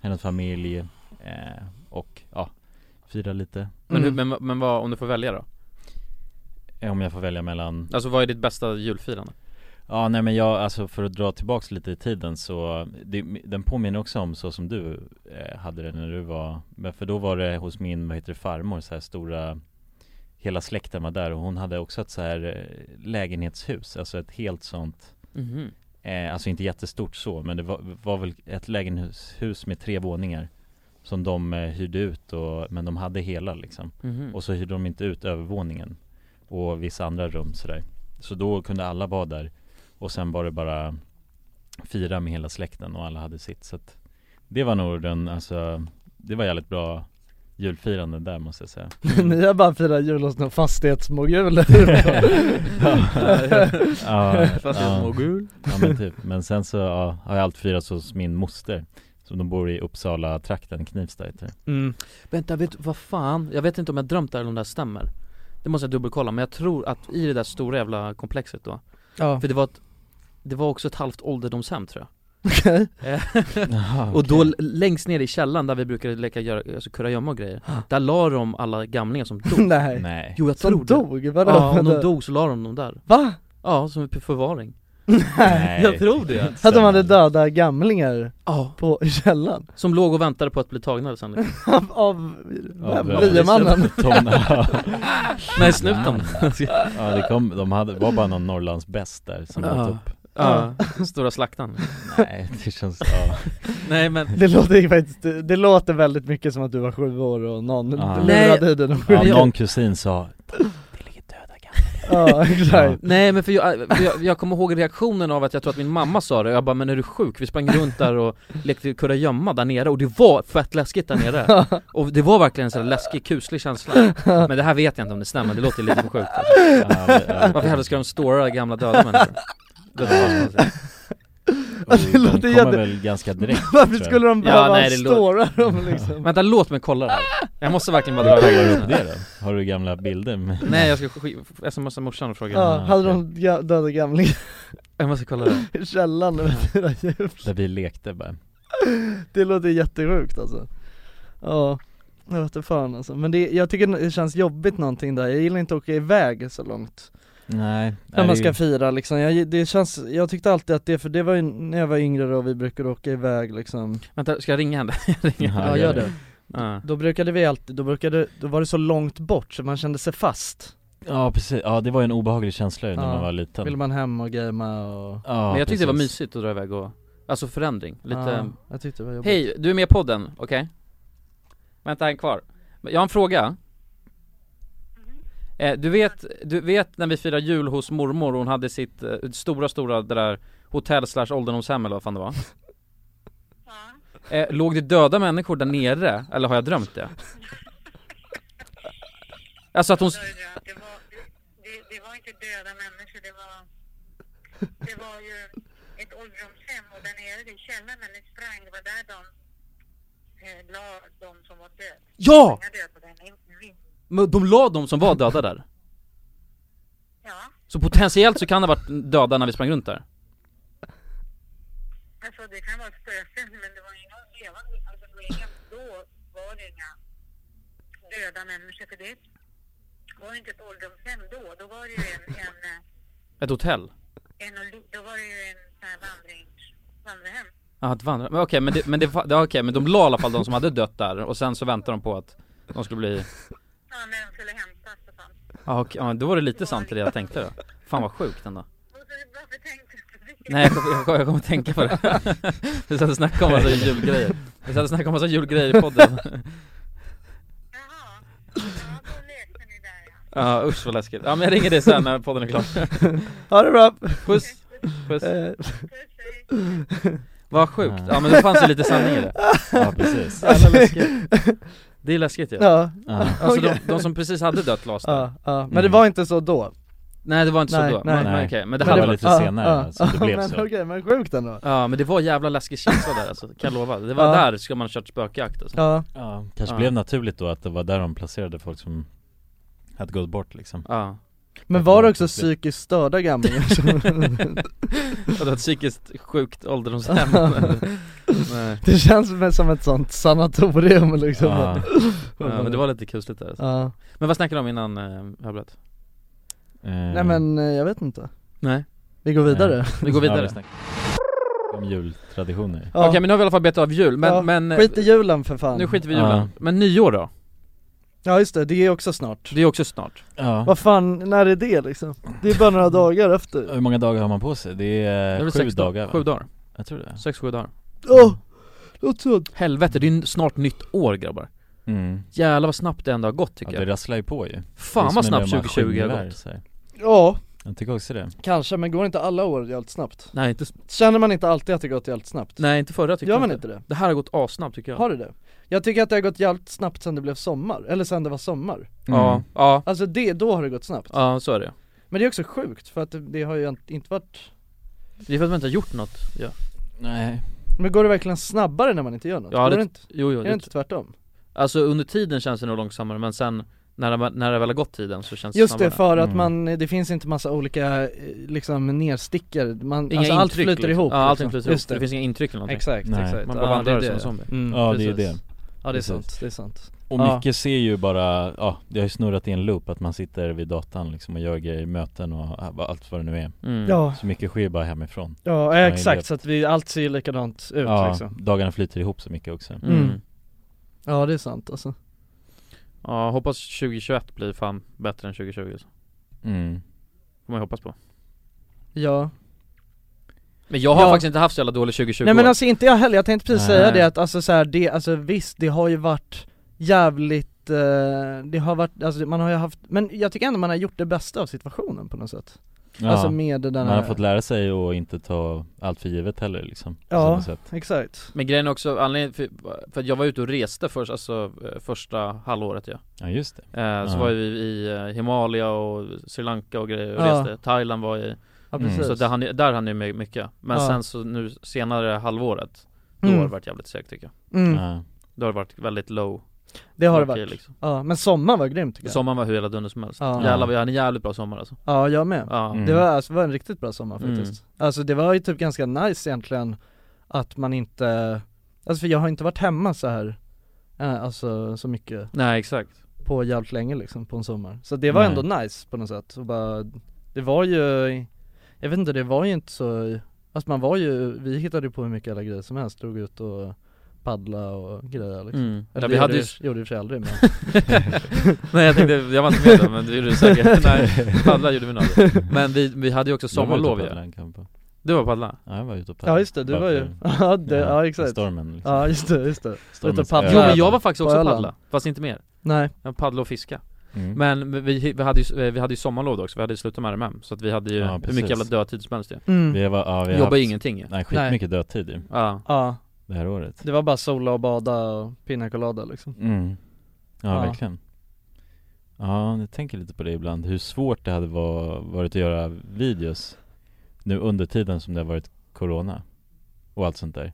[SPEAKER 2] hennes familj eh, och ja, firar lite
[SPEAKER 3] Men, hur,
[SPEAKER 5] Mm.
[SPEAKER 3] men, men vad, om du får välja då?
[SPEAKER 2] Eh, Om jag får välja mellan
[SPEAKER 3] Alltså vad är ditt bästa julfirande?
[SPEAKER 2] Ja nej men jag, alltså för att dra tillbaks lite i tiden så det, Den påminner också om så som du eh, hade det när du var Men för då var det hos min, vad heter det, farmor så här stora Hela släkten var där och hon hade också ett så här eh, lägenhetshus, alltså ett helt sånt
[SPEAKER 3] Mhm.
[SPEAKER 2] eh, Alltså inte jättestort så men det var, var väl ett lägenhetshus med tre våningar Som de eh, hyrde ut och, men de hade hela liksom
[SPEAKER 3] Mhm. (laughs)
[SPEAKER 2] och så hyrde de inte ut övervåningen och vissa andra rum sådär. Så då kunde alla vara där och sen var det bara fira med hela släkten och alla hade sitt. Så att det var nog den, alltså, det var jävligt bra julfirande där måste jag säga.
[SPEAKER 5] (laughs) ni har bara firat jul hos någon (laughs) fastighetsmogul
[SPEAKER 2] ja,
[SPEAKER 3] Fast jag är
[SPEAKER 2] ja,
[SPEAKER 3] mogul
[SPEAKER 2] ja men typ. Men sen så ja, har jag allt firats hos min moster. Som de bor i Uppsala trakten, Knivsta heter det.
[SPEAKER 5] mm.
[SPEAKER 3] Vänta, vet du, vad fan? Jag vet inte om jag drömt det här eller om det här stämmer Det måste jag dubbelkolla, men jag tror att i det där stora jävla komplexet då
[SPEAKER 5] Ja,
[SPEAKER 3] För
[SPEAKER 5] (laughs)
[SPEAKER 3] det var ett, det var också ett halvt ålderdomshem tror jag
[SPEAKER 5] okej
[SPEAKER 3] Eh,
[SPEAKER 2] Jaha,
[SPEAKER 3] Och då
[SPEAKER 2] okej.
[SPEAKER 3] l- längst ner i källaren där vi brukade leka göra, alltså kurragömma och grejer Där la de alla gamlingar som dog
[SPEAKER 5] Nej,
[SPEAKER 2] Nej.
[SPEAKER 3] Jo jag tror
[SPEAKER 5] som
[SPEAKER 3] det
[SPEAKER 5] dog? Vadå?
[SPEAKER 3] Ja, om de
[SPEAKER 5] Vänta. (laughs)
[SPEAKER 3] dog så la de dem där
[SPEAKER 5] Va?
[SPEAKER 3] Ja, som för- förvaring
[SPEAKER 2] Nej.
[SPEAKER 3] Jag tror det.
[SPEAKER 5] Att de hade döda gamlingar
[SPEAKER 3] Ja,
[SPEAKER 5] på i (laughs) källaren?
[SPEAKER 3] som låg och väntade på att bli tagna sen
[SPEAKER 5] (laughs)
[SPEAKER 3] liksom.
[SPEAKER 5] Av, av
[SPEAKER 2] Ja,
[SPEAKER 5] vem?
[SPEAKER 2] bra.
[SPEAKER 5] Liemannen?
[SPEAKER 2] (laughs) Tona.
[SPEAKER 3] Nej snuten!
[SPEAKER 2] Ja det kom, de hade, var bara någon Norrlands bäst där som
[SPEAKER 3] Ja.
[SPEAKER 2] åt upp
[SPEAKER 3] Ja, stora slaktaren
[SPEAKER 2] Nej det känns, ja
[SPEAKER 3] Nej men
[SPEAKER 5] (laughs) Det låter faktiskt, det låter väldigt mycket som att du var sju år och någon
[SPEAKER 2] Ja.
[SPEAKER 5] lurade i dig någon
[SPEAKER 2] Ja,
[SPEAKER 5] skit.
[SPEAKER 2] någon kusin sa Det ligger döda gamla
[SPEAKER 5] (laughs) Ja, exakt.
[SPEAKER 3] Nej men för jag, för jag, jag kommer ihåg reaktionen av att jag tror att min mamma sa det, jag bara 'Men är du sjuk?' Vi sprang runt där och lekte kurragömma där nere och det var fett läskigt där
[SPEAKER 5] (laughs)
[SPEAKER 3] nere Och det var verkligen en sån här läskig, kuslig känsla Men det här vet jag inte om det stämmer, det låter lite sjukt alltså.
[SPEAKER 2] Ja, det- ja.
[SPEAKER 3] Varför i helvete ska de stora gamla döda människor? Det var bara konstigt.
[SPEAKER 2] Och
[SPEAKER 5] det låter
[SPEAKER 2] De
[SPEAKER 5] jätte-
[SPEAKER 2] kommer väl ganska direkt
[SPEAKER 5] (laughs) Varför
[SPEAKER 2] tror jag.
[SPEAKER 5] skulle de
[SPEAKER 3] Ja,
[SPEAKER 5] behöva
[SPEAKER 3] nej, det lå-
[SPEAKER 5] stora dem
[SPEAKER 3] (laughs)
[SPEAKER 5] liksom?
[SPEAKER 3] Vänta låt mig kolla det här Jag måste verkligen bara dra
[SPEAKER 2] Hur kollar
[SPEAKER 3] iväg
[SPEAKER 2] du
[SPEAKER 3] det
[SPEAKER 2] upp
[SPEAKER 3] här.
[SPEAKER 2] det då? Har du gamla bilder? Med...
[SPEAKER 3] Nej jag ska sk- smsa morsan och fråga
[SPEAKER 5] Ja, hade de ga- döda gamlingar
[SPEAKER 3] Jag måste kolla det
[SPEAKER 5] i källaren med dina djur?
[SPEAKER 2] Där vi lekte bara
[SPEAKER 5] Det låter jättesjukt alltså Ja, jag vet inte fan alltså. Men det, jag tycker det känns jobbigt någonting där, jag gillar inte att åka iväg så långt
[SPEAKER 2] Nej,
[SPEAKER 5] När
[SPEAKER 2] nej,
[SPEAKER 5] man
[SPEAKER 2] det-
[SPEAKER 5] ska fira liksom, jag, det känns, jag tyckte alltid att det, för det var ju när jag var yngre och vi brukade åka iväg liksom
[SPEAKER 3] Vänta, ska jag ringa henne? Jag ringer.
[SPEAKER 2] Ja, gör det.
[SPEAKER 3] Ja.
[SPEAKER 5] Då brukade vi alltid, då brukade, då var det så långt bort så man kände sig fast
[SPEAKER 2] Ja precis, ja det var ju en obehaglig känsla ju när
[SPEAKER 5] Ja.
[SPEAKER 2] man var liten
[SPEAKER 5] Ville man hem och gamea och
[SPEAKER 2] ja,
[SPEAKER 3] Men jag tyckte det var
[SPEAKER 2] precis.
[SPEAKER 3] mysigt att dra iväg och, alltså förändring, lite
[SPEAKER 5] ja, Jag tyckte det var jobbigt
[SPEAKER 3] Hej, du är med i podden, okej? Vänta, en kvar. Men Jag har en fråga. Eh, du, vet, du vet när vi firade jul hos mormor och hon hade sitt eh, stora, stora det där hotell slash ålderdomshem eller vad fan det var? Eh, låg det döda människor där nere, eller har jag drömt det? Alltså att hon... s-
[SPEAKER 10] Det var, det, det var inte döda människor, det var, det var ju ett ålderdomshem och där nere i källaren när ni sprang, det var där de eh, la de som var döda.
[SPEAKER 3] Ja!
[SPEAKER 10] Inga döda där nere.
[SPEAKER 3] Men de la de som var döda där.
[SPEAKER 10] Ja,
[SPEAKER 3] Så potentiellt så kan det ha varit döda när vi sprang runt där.
[SPEAKER 10] alltså det kan vara spöken men det var inga levande, alltså det var inga, då var det inga döda människor för det var ju inte ett ålderdomshem då, då var det ju en, en, eh,
[SPEAKER 3] Ett hotell.
[SPEAKER 10] en, en då var det ju en sån här vandrings, vandrarhem.
[SPEAKER 3] Ja, att vandra. Men okej, men, det, men, det, det, okej, men de la i alla fall de som hade dött där och sen så väntade de på att de skulle bli
[SPEAKER 10] Ja, när de skulle hämtas och sånt.
[SPEAKER 3] Ja, okej, ja, då var det lite sant i det jag tänkte då Fan vad sjukt ändå
[SPEAKER 10] Varför- Varför tänkte du det?
[SPEAKER 3] Nej jag kommer, jag kommer, jag kommer tänka på det (laughs) Vi satt och snackade om massa julgrejer Vi satt och snackade om massa julgrejer i podden
[SPEAKER 10] (laughs) Jaha, ja då lekte ni där ja.
[SPEAKER 3] Ja usch vad läskigt, ja men jag ringer dig sen när podden är klar
[SPEAKER 5] Ha det bra!
[SPEAKER 3] Puss, puss
[SPEAKER 5] Eh,
[SPEAKER 10] Puss hej.
[SPEAKER 3] Vad sjukt, ja men det fanns ju lite sanning i det
[SPEAKER 2] Ja
[SPEAKER 3] (laughs)
[SPEAKER 2] precis
[SPEAKER 3] Jävla läskigt Det är läskigt ju
[SPEAKER 5] ja,
[SPEAKER 2] ja.
[SPEAKER 3] Alltså de, de som precis hade dött lades där
[SPEAKER 5] ja, ja, men det
[SPEAKER 2] Mm.
[SPEAKER 5] var inte så då
[SPEAKER 3] Nej det var inte
[SPEAKER 5] Nej,
[SPEAKER 3] så då,
[SPEAKER 5] nej.
[SPEAKER 3] men, men okej, men det
[SPEAKER 2] Det
[SPEAKER 3] hade
[SPEAKER 2] var
[SPEAKER 3] varit
[SPEAKER 2] lite senare, så det blev
[SPEAKER 5] (laughs) men,
[SPEAKER 2] så.
[SPEAKER 5] Okej, men sjukt ändå
[SPEAKER 3] Ja men det var jävla läskig känsla där alltså, kan jag lova Det var
[SPEAKER 5] Ja.
[SPEAKER 3] där ska man ha kört spökjakt alltså.
[SPEAKER 5] Ja,
[SPEAKER 2] ja. Kanske
[SPEAKER 3] Ja.
[SPEAKER 2] blev naturligt då att det var där de placerade folk som hade gått bort liksom
[SPEAKER 3] Ja, (laughs)
[SPEAKER 5] men var det också psykiskt störda gamlingar (laughs) som-
[SPEAKER 3] och det var ett psykiskt sjukt
[SPEAKER 5] (laughs)
[SPEAKER 3] ålderdomshem Nej,
[SPEAKER 5] Det känns väl som ett sånt sanatorium (laughs) liksom
[SPEAKER 2] Ja,
[SPEAKER 3] ja, men det var lite kusligt där alltså.
[SPEAKER 5] Ja.
[SPEAKER 3] Men vad snackade de om innan eh, jag bröt?
[SPEAKER 2] eh,
[SPEAKER 5] Nej men eh, jag vet inte
[SPEAKER 3] Nej,
[SPEAKER 5] Vi går
[SPEAKER 2] (laughs)
[SPEAKER 5] vidare
[SPEAKER 3] vi går vidare
[SPEAKER 2] Ja, snackade om jultraditioner
[SPEAKER 5] ja.
[SPEAKER 3] Okej men nu har vi i alla fall betat av jul, men,
[SPEAKER 5] Ja,
[SPEAKER 3] men eh,
[SPEAKER 5] Skit i julen för fan
[SPEAKER 3] nu skiter vi i
[SPEAKER 2] Ja.
[SPEAKER 3] julen Men nyår då?
[SPEAKER 5] Ja just det, det är också snart
[SPEAKER 3] Det är också snart
[SPEAKER 2] Ja,
[SPEAKER 5] Vad fan, när är det liksom? Det är bara
[SPEAKER 3] Mm.
[SPEAKER 5] några dagar efter
[SPEAKER 2] hur många dagar har man på sig? Det
[SPEAKER 3] det
[SPEAKER 2] är,
[SPEAKER 3] är
[SPEAKER 2] eh,
[SPEAKER 3] väl
[SPEAKER 2] sju
[SPEAKER 3] sex da-
[SPEAKER 2] dagar va?
[SPEAKER 3] Sju dagar,
[SPEAKER 2] Jag tror det
[SPEAKER 3] sex, sju dagar
[SPEAKER 5] Åh! Något sånt
[SPEAKER 3] Helvete, det är ju snart nytt år grabbar
[SPEAKER 2] mm.
[SPEAKER 3] Jävlar vad snabbt det ändå har gått
[SPEAKER 2] Ja
[SPEAKER 3] tycker
[SPEAKER 2] det
[SPEAKER 3] jag
[SPEAKER 2] rasslar ju på ju Det är
[SPEAKER 3] Fan
[SPEAKER 2] som
[SPEAKER 3] vad
[SPEAKER 2] när
[SPEAKER 3] snabbt
[SPEAKER 2] man
[SPEAKER 3] 2020 har
[SPEAKER 2] skingrar
[SPEAKER 3] gått
[SPEAKER 2] så här.
[SPEAKER 5] Ja,
[SPEAKER 2] Jag tycker också det
[SPEAKER 5] kanske, men går inte alla år jävligt snabbt?
[SPEAKER 3] Nej inte,
[SPEAKER 5] Känner man inte alltid att det gått jävligt snabbt?
[SPEAKER 3] nej, inte förra tycker
[SPEAKER 5] Gör
[SPEAKER 3] jag
[SPEAKER 5] man inte det?
[SPEAKER 3] Det här har gått assnabbt tycker jag
[SPEAKER 5] Har du det? Jag tycker att det har gått jävligt snabbt sen det blev sommar, eller sen det var sommar
[SPEAKER 3] Ja, ja,
[SPEAKER 5] Alltså det, då har det gått snabbt
[SPEAKER 3] ja så är det
[SPEAKER 5] Men det är också sjukt för att det, det har ju inte varit
[SPEAKER 3] Det är för att man inte har gjort något ja.
[SPEAKER 2] Nej
[SPEAKER 5] Men går det verkligen snabbare när man inte gör något?
[SPEAKER 3] Ja,
[SPEAKER 5] går det,
[SPEAKER 3] det-
[SPEAKER 5] inte,
[SPEAKER 3] Jo, jo,
[SPEAKER 5] är det
[SPEAKER 3] det,
[SPEAKER 5] inte tvärtom?
[SPEAKER 3] alltså under tiden känns det nog långsammare men sen när det, när det väl har gått tiden så känns det
[SPEAKER 5] Just
[SPEAKER 3] snabbare
[SPEAKER 5] det, för att
[SPEAKER 2] Mm.
[SPEAKER 5] man, det finns inte massa olika eh, liksom nerstickor, man,
[SPEAKER 3] Inga
[SPEAKER 5] alltså allt
[SPEAKER 3] intryck,
[SPEAKER 5] flyter
[SPEAKER 3] liksom.
[SPEAKER 5] ihop
[SPEAKER 3] Ja allt
[SPEAKER 5] liksom.
[SPEAKER 3] flyter ihop,
[SPEAKER 5] Just
[SPEAKER 3] det.
[SPEAKER 5] det,
[SPEAKER 3] finns inga intryck eller någonting
[SPEAKER 5] exakt,
[SPEAKER 2] Nej.
[SPEAKER 5] exakt
[SPEAKER 3] Man
[SPEAKER 5] Ja,
[SPEAKER 3] bara vandrar
[SPEAKER 5] det är
[SPEAKER 3] som en
[SPEAKER 5] det.
[SPEAKER 3] zombie
[SPEAKER 5] Mm,
[SPEAKER 2] Ja det är ju
[SPEAKER 5] precis.
[SPEAKER 2] det
[SPEAKER 5] Ja det är
[SPEAKER 2] Precis.
[SPEAKER 5] sant, det är sant
[SPEAKER 2] Och
[SPEAKER 5] Ja.
[SPEAKER 2] mycket ser ju bara, ja det har ju snurrat i en loop att man sitter vid datan liksom och gör grejer, möten och a- allt vad det nu är
[SPEAKER 3] mm.
[SPEAKER 5] Ja,
[SPEAKER 2] Så mycket sker ju bara hemifrån
[SPEAKER 5] ja
[SPEAKER 2] är
[SPEAKER 5] exakt
[SPEAKER 2] det.
[SPEAKER 5] så att vi, allt ser ju likadant ut
[SPEAKER 2] Ja,
[SPEAKER 5] liksom
[SPEAKER 2] dagarna flyter ihop så mycket också
[SPEAKER 3] Mm.
[SPEAKER 5] Mm. Ja det är sant alltså
[SPEAKER 3] Ja hoppas 2021 blir fan bättre än 2020 så.
[SPEAKER 2] mm.
[SPEAKER 3] Får man ju hoppas på
[SPEAKER 5] Ja,
[SPEAKER 3] Men jag har
[SPEAKER 5] Ja.
[SPEAKER 3] faktiskt inte haft så jävla dålig 2020
[SPEAKER 5] nej men
[SPEAKER 3] år.
[SPEAKER 5] alltså inte jag heller, jag tänkte precis
[SPEAKER 2] Nej.
[SPEAKER 5] säga det att alltså så här, det, alltså visst det har ju varit jävligt eh, det har varit, alltså man har ju haft, men jag tycker ändå man har gjort det bästa av situationen på något sätt
[SPEAKER 2] ja.
[SPEAKER 5] Alltså med den här
[SPEAKER 2] Man har fått lära sig att inte ta allt för givet heller liksom på
[SPEAKER 5] Ja.
[SPEAKER 2] samma sätt.
[SPEAKER 5] Exakt
[SPEAKER 3] Men grejen är också, anledningen för, för att jag var ute och reste först, alltså eh, första halvåret ja
[SPEAKER 2] Ja just det
[SPEAKER 3] eh, Så
[SPEAKER 2] Ja.
[SPEAKER 3] var ju vi i eh, Himalaya och Sri Lanka och grejer och
[SPEAKER 5] Ja.
[SPEAKER 3] reste Thailand var i
[SPEAKER 5] Ja
[SPEAKER 2] Mm.
[SPEAKER 5] precis
[SPEAKER 3] Så där hann, ju- där hann ju med mycket Men
[SPEAKER 5] Ja.
[SPEAKER 3] sen så nu senare halvåret Då
[SPEAKER 5] Mm.
[SPEAKER 3] har det varit jävligt segt tycker jag
[SPEAKER 5] mm,
[SPEAKER 2] ja.
[SPEAKER 3] Då har det varit väldigt low
[SPEAKER 5] Det har det
[SPEAKER 3] low key,
[SPEAKER 5] varit,
[SPEAKER 3] liksom.
[SPEAKER 5] ja men sommaren var grym tycker jag
[SPEAKER 3] Sommaren var hur jävla dunder som helst
[SPEAKER 5] Ja.
[SPEAKER 3] Jävlar vi hade en jävligt bra sommar alltså
[SPEAKER 5] Ja jag med
[SPEAKER 3] Ja,
[SPEAKER 2] Mm.
[SPEAKER 5] Det var, alltså, var en riktigt bra sommar faktiskt Alltså det var ju typ ganska nice egentligen Att man inte, alltså för jag har inte varit hemma så här eh, Alltså så mycket
[SPEAKER 3] nej exakt
[SPEAKER 5] på jävligt länge liksom på en sommar Så det var
[SPEAKER 2] Nej.
[SPEAKER 5] ändå nice på något sätt och bara, Det var ju, jag vet inte det var ju inte så, alltså man var ju, vi hittade ju på hur mycket alla grejer som helst, drog ut och paddla och grejer liksom
[SPEAKER 3] mm.
[SPEAKER 5] Eller
[SPEAKER 3] ja,
[SPEAKER 5] det
[SPEAKER 3] vi hade ju...
[SPEAKER 5] gjorde- gjorde vi för sig aldrig men
[SPEAKER 3] (laughs) Nej jag tänkte, jag var inte med då men det gjorde
[SPEAKER 2] (laughs)
[SPEAKER 3] du säkert Nej, paddla gjorde vi nog aldrig. Men vi, vi hade ju också sommarlov ju
[SPEAKER 2] ju
[SPEAKER 3] Du var paddla?
[SPEAKER 2] Ja jag var ute och
[SPEAKER 5] Ja just det, du
[SPEAKER 2] Bara
[SPEAKER 5] var ju,
[SPEAKER 2] för-
[SPEAKER 5] (laughs) ja, det, ja,
[SPEAKER 2] för
[SPEAKER 5] exakt
[SPEAKER 2] Stormen liksom.
[SPEAKER 5] Ja just det, just det
[SPEAKER 2] Stormens
[SPEAKER 5] och paddla.
[SPEAKER 2] öra.
[SPEAKER 3] Jo men jag var faktiskt också
[SPEAKER 5] Öland.
[SPEAKER 3] paddla, fast inte mer
[SPEAKER 5] Nej,
[SPEAKER 3] Jag paddla och fiska
[SPEAKER 2] mm.
[SPEAKER 3] Men vi, vi, hade ju, vi hade ju sommarlov då också, vi hade ju slutat med RMM Så att vi hade ju
[SPEAKER 2] Ja,
[SPEAKER 3] hur
[SPEAKER 2] precis.
[SPEAKER 3] mycket jävla dödtid som helst ju
[SPEAKER 5] mm.
[SPEAKER 2] Vi var, ja, vi har
[SPEAKER 3] Jobbar
[SPEAKER 2] haft,
[SPEAKER 3] ju ingenting ju
[SPEAKER 2] Nej skitmycket dödtid ju,
[SPEAKER 3] Ja,
[SPEAKER 5] ja
[SPEAKER 2] det här året
[SPEAKER 5] det var bara sola och bada och pina colada liksom
[SPEAKER 2] mm. ja,
[SPEAKER 5] Ja.
[SPEAKER 2] verkligen Ja, jag tänker lite på det ibland, hur svårt det hade var, varit att göra videos nu under tiden som det har varit corona och allt sånt där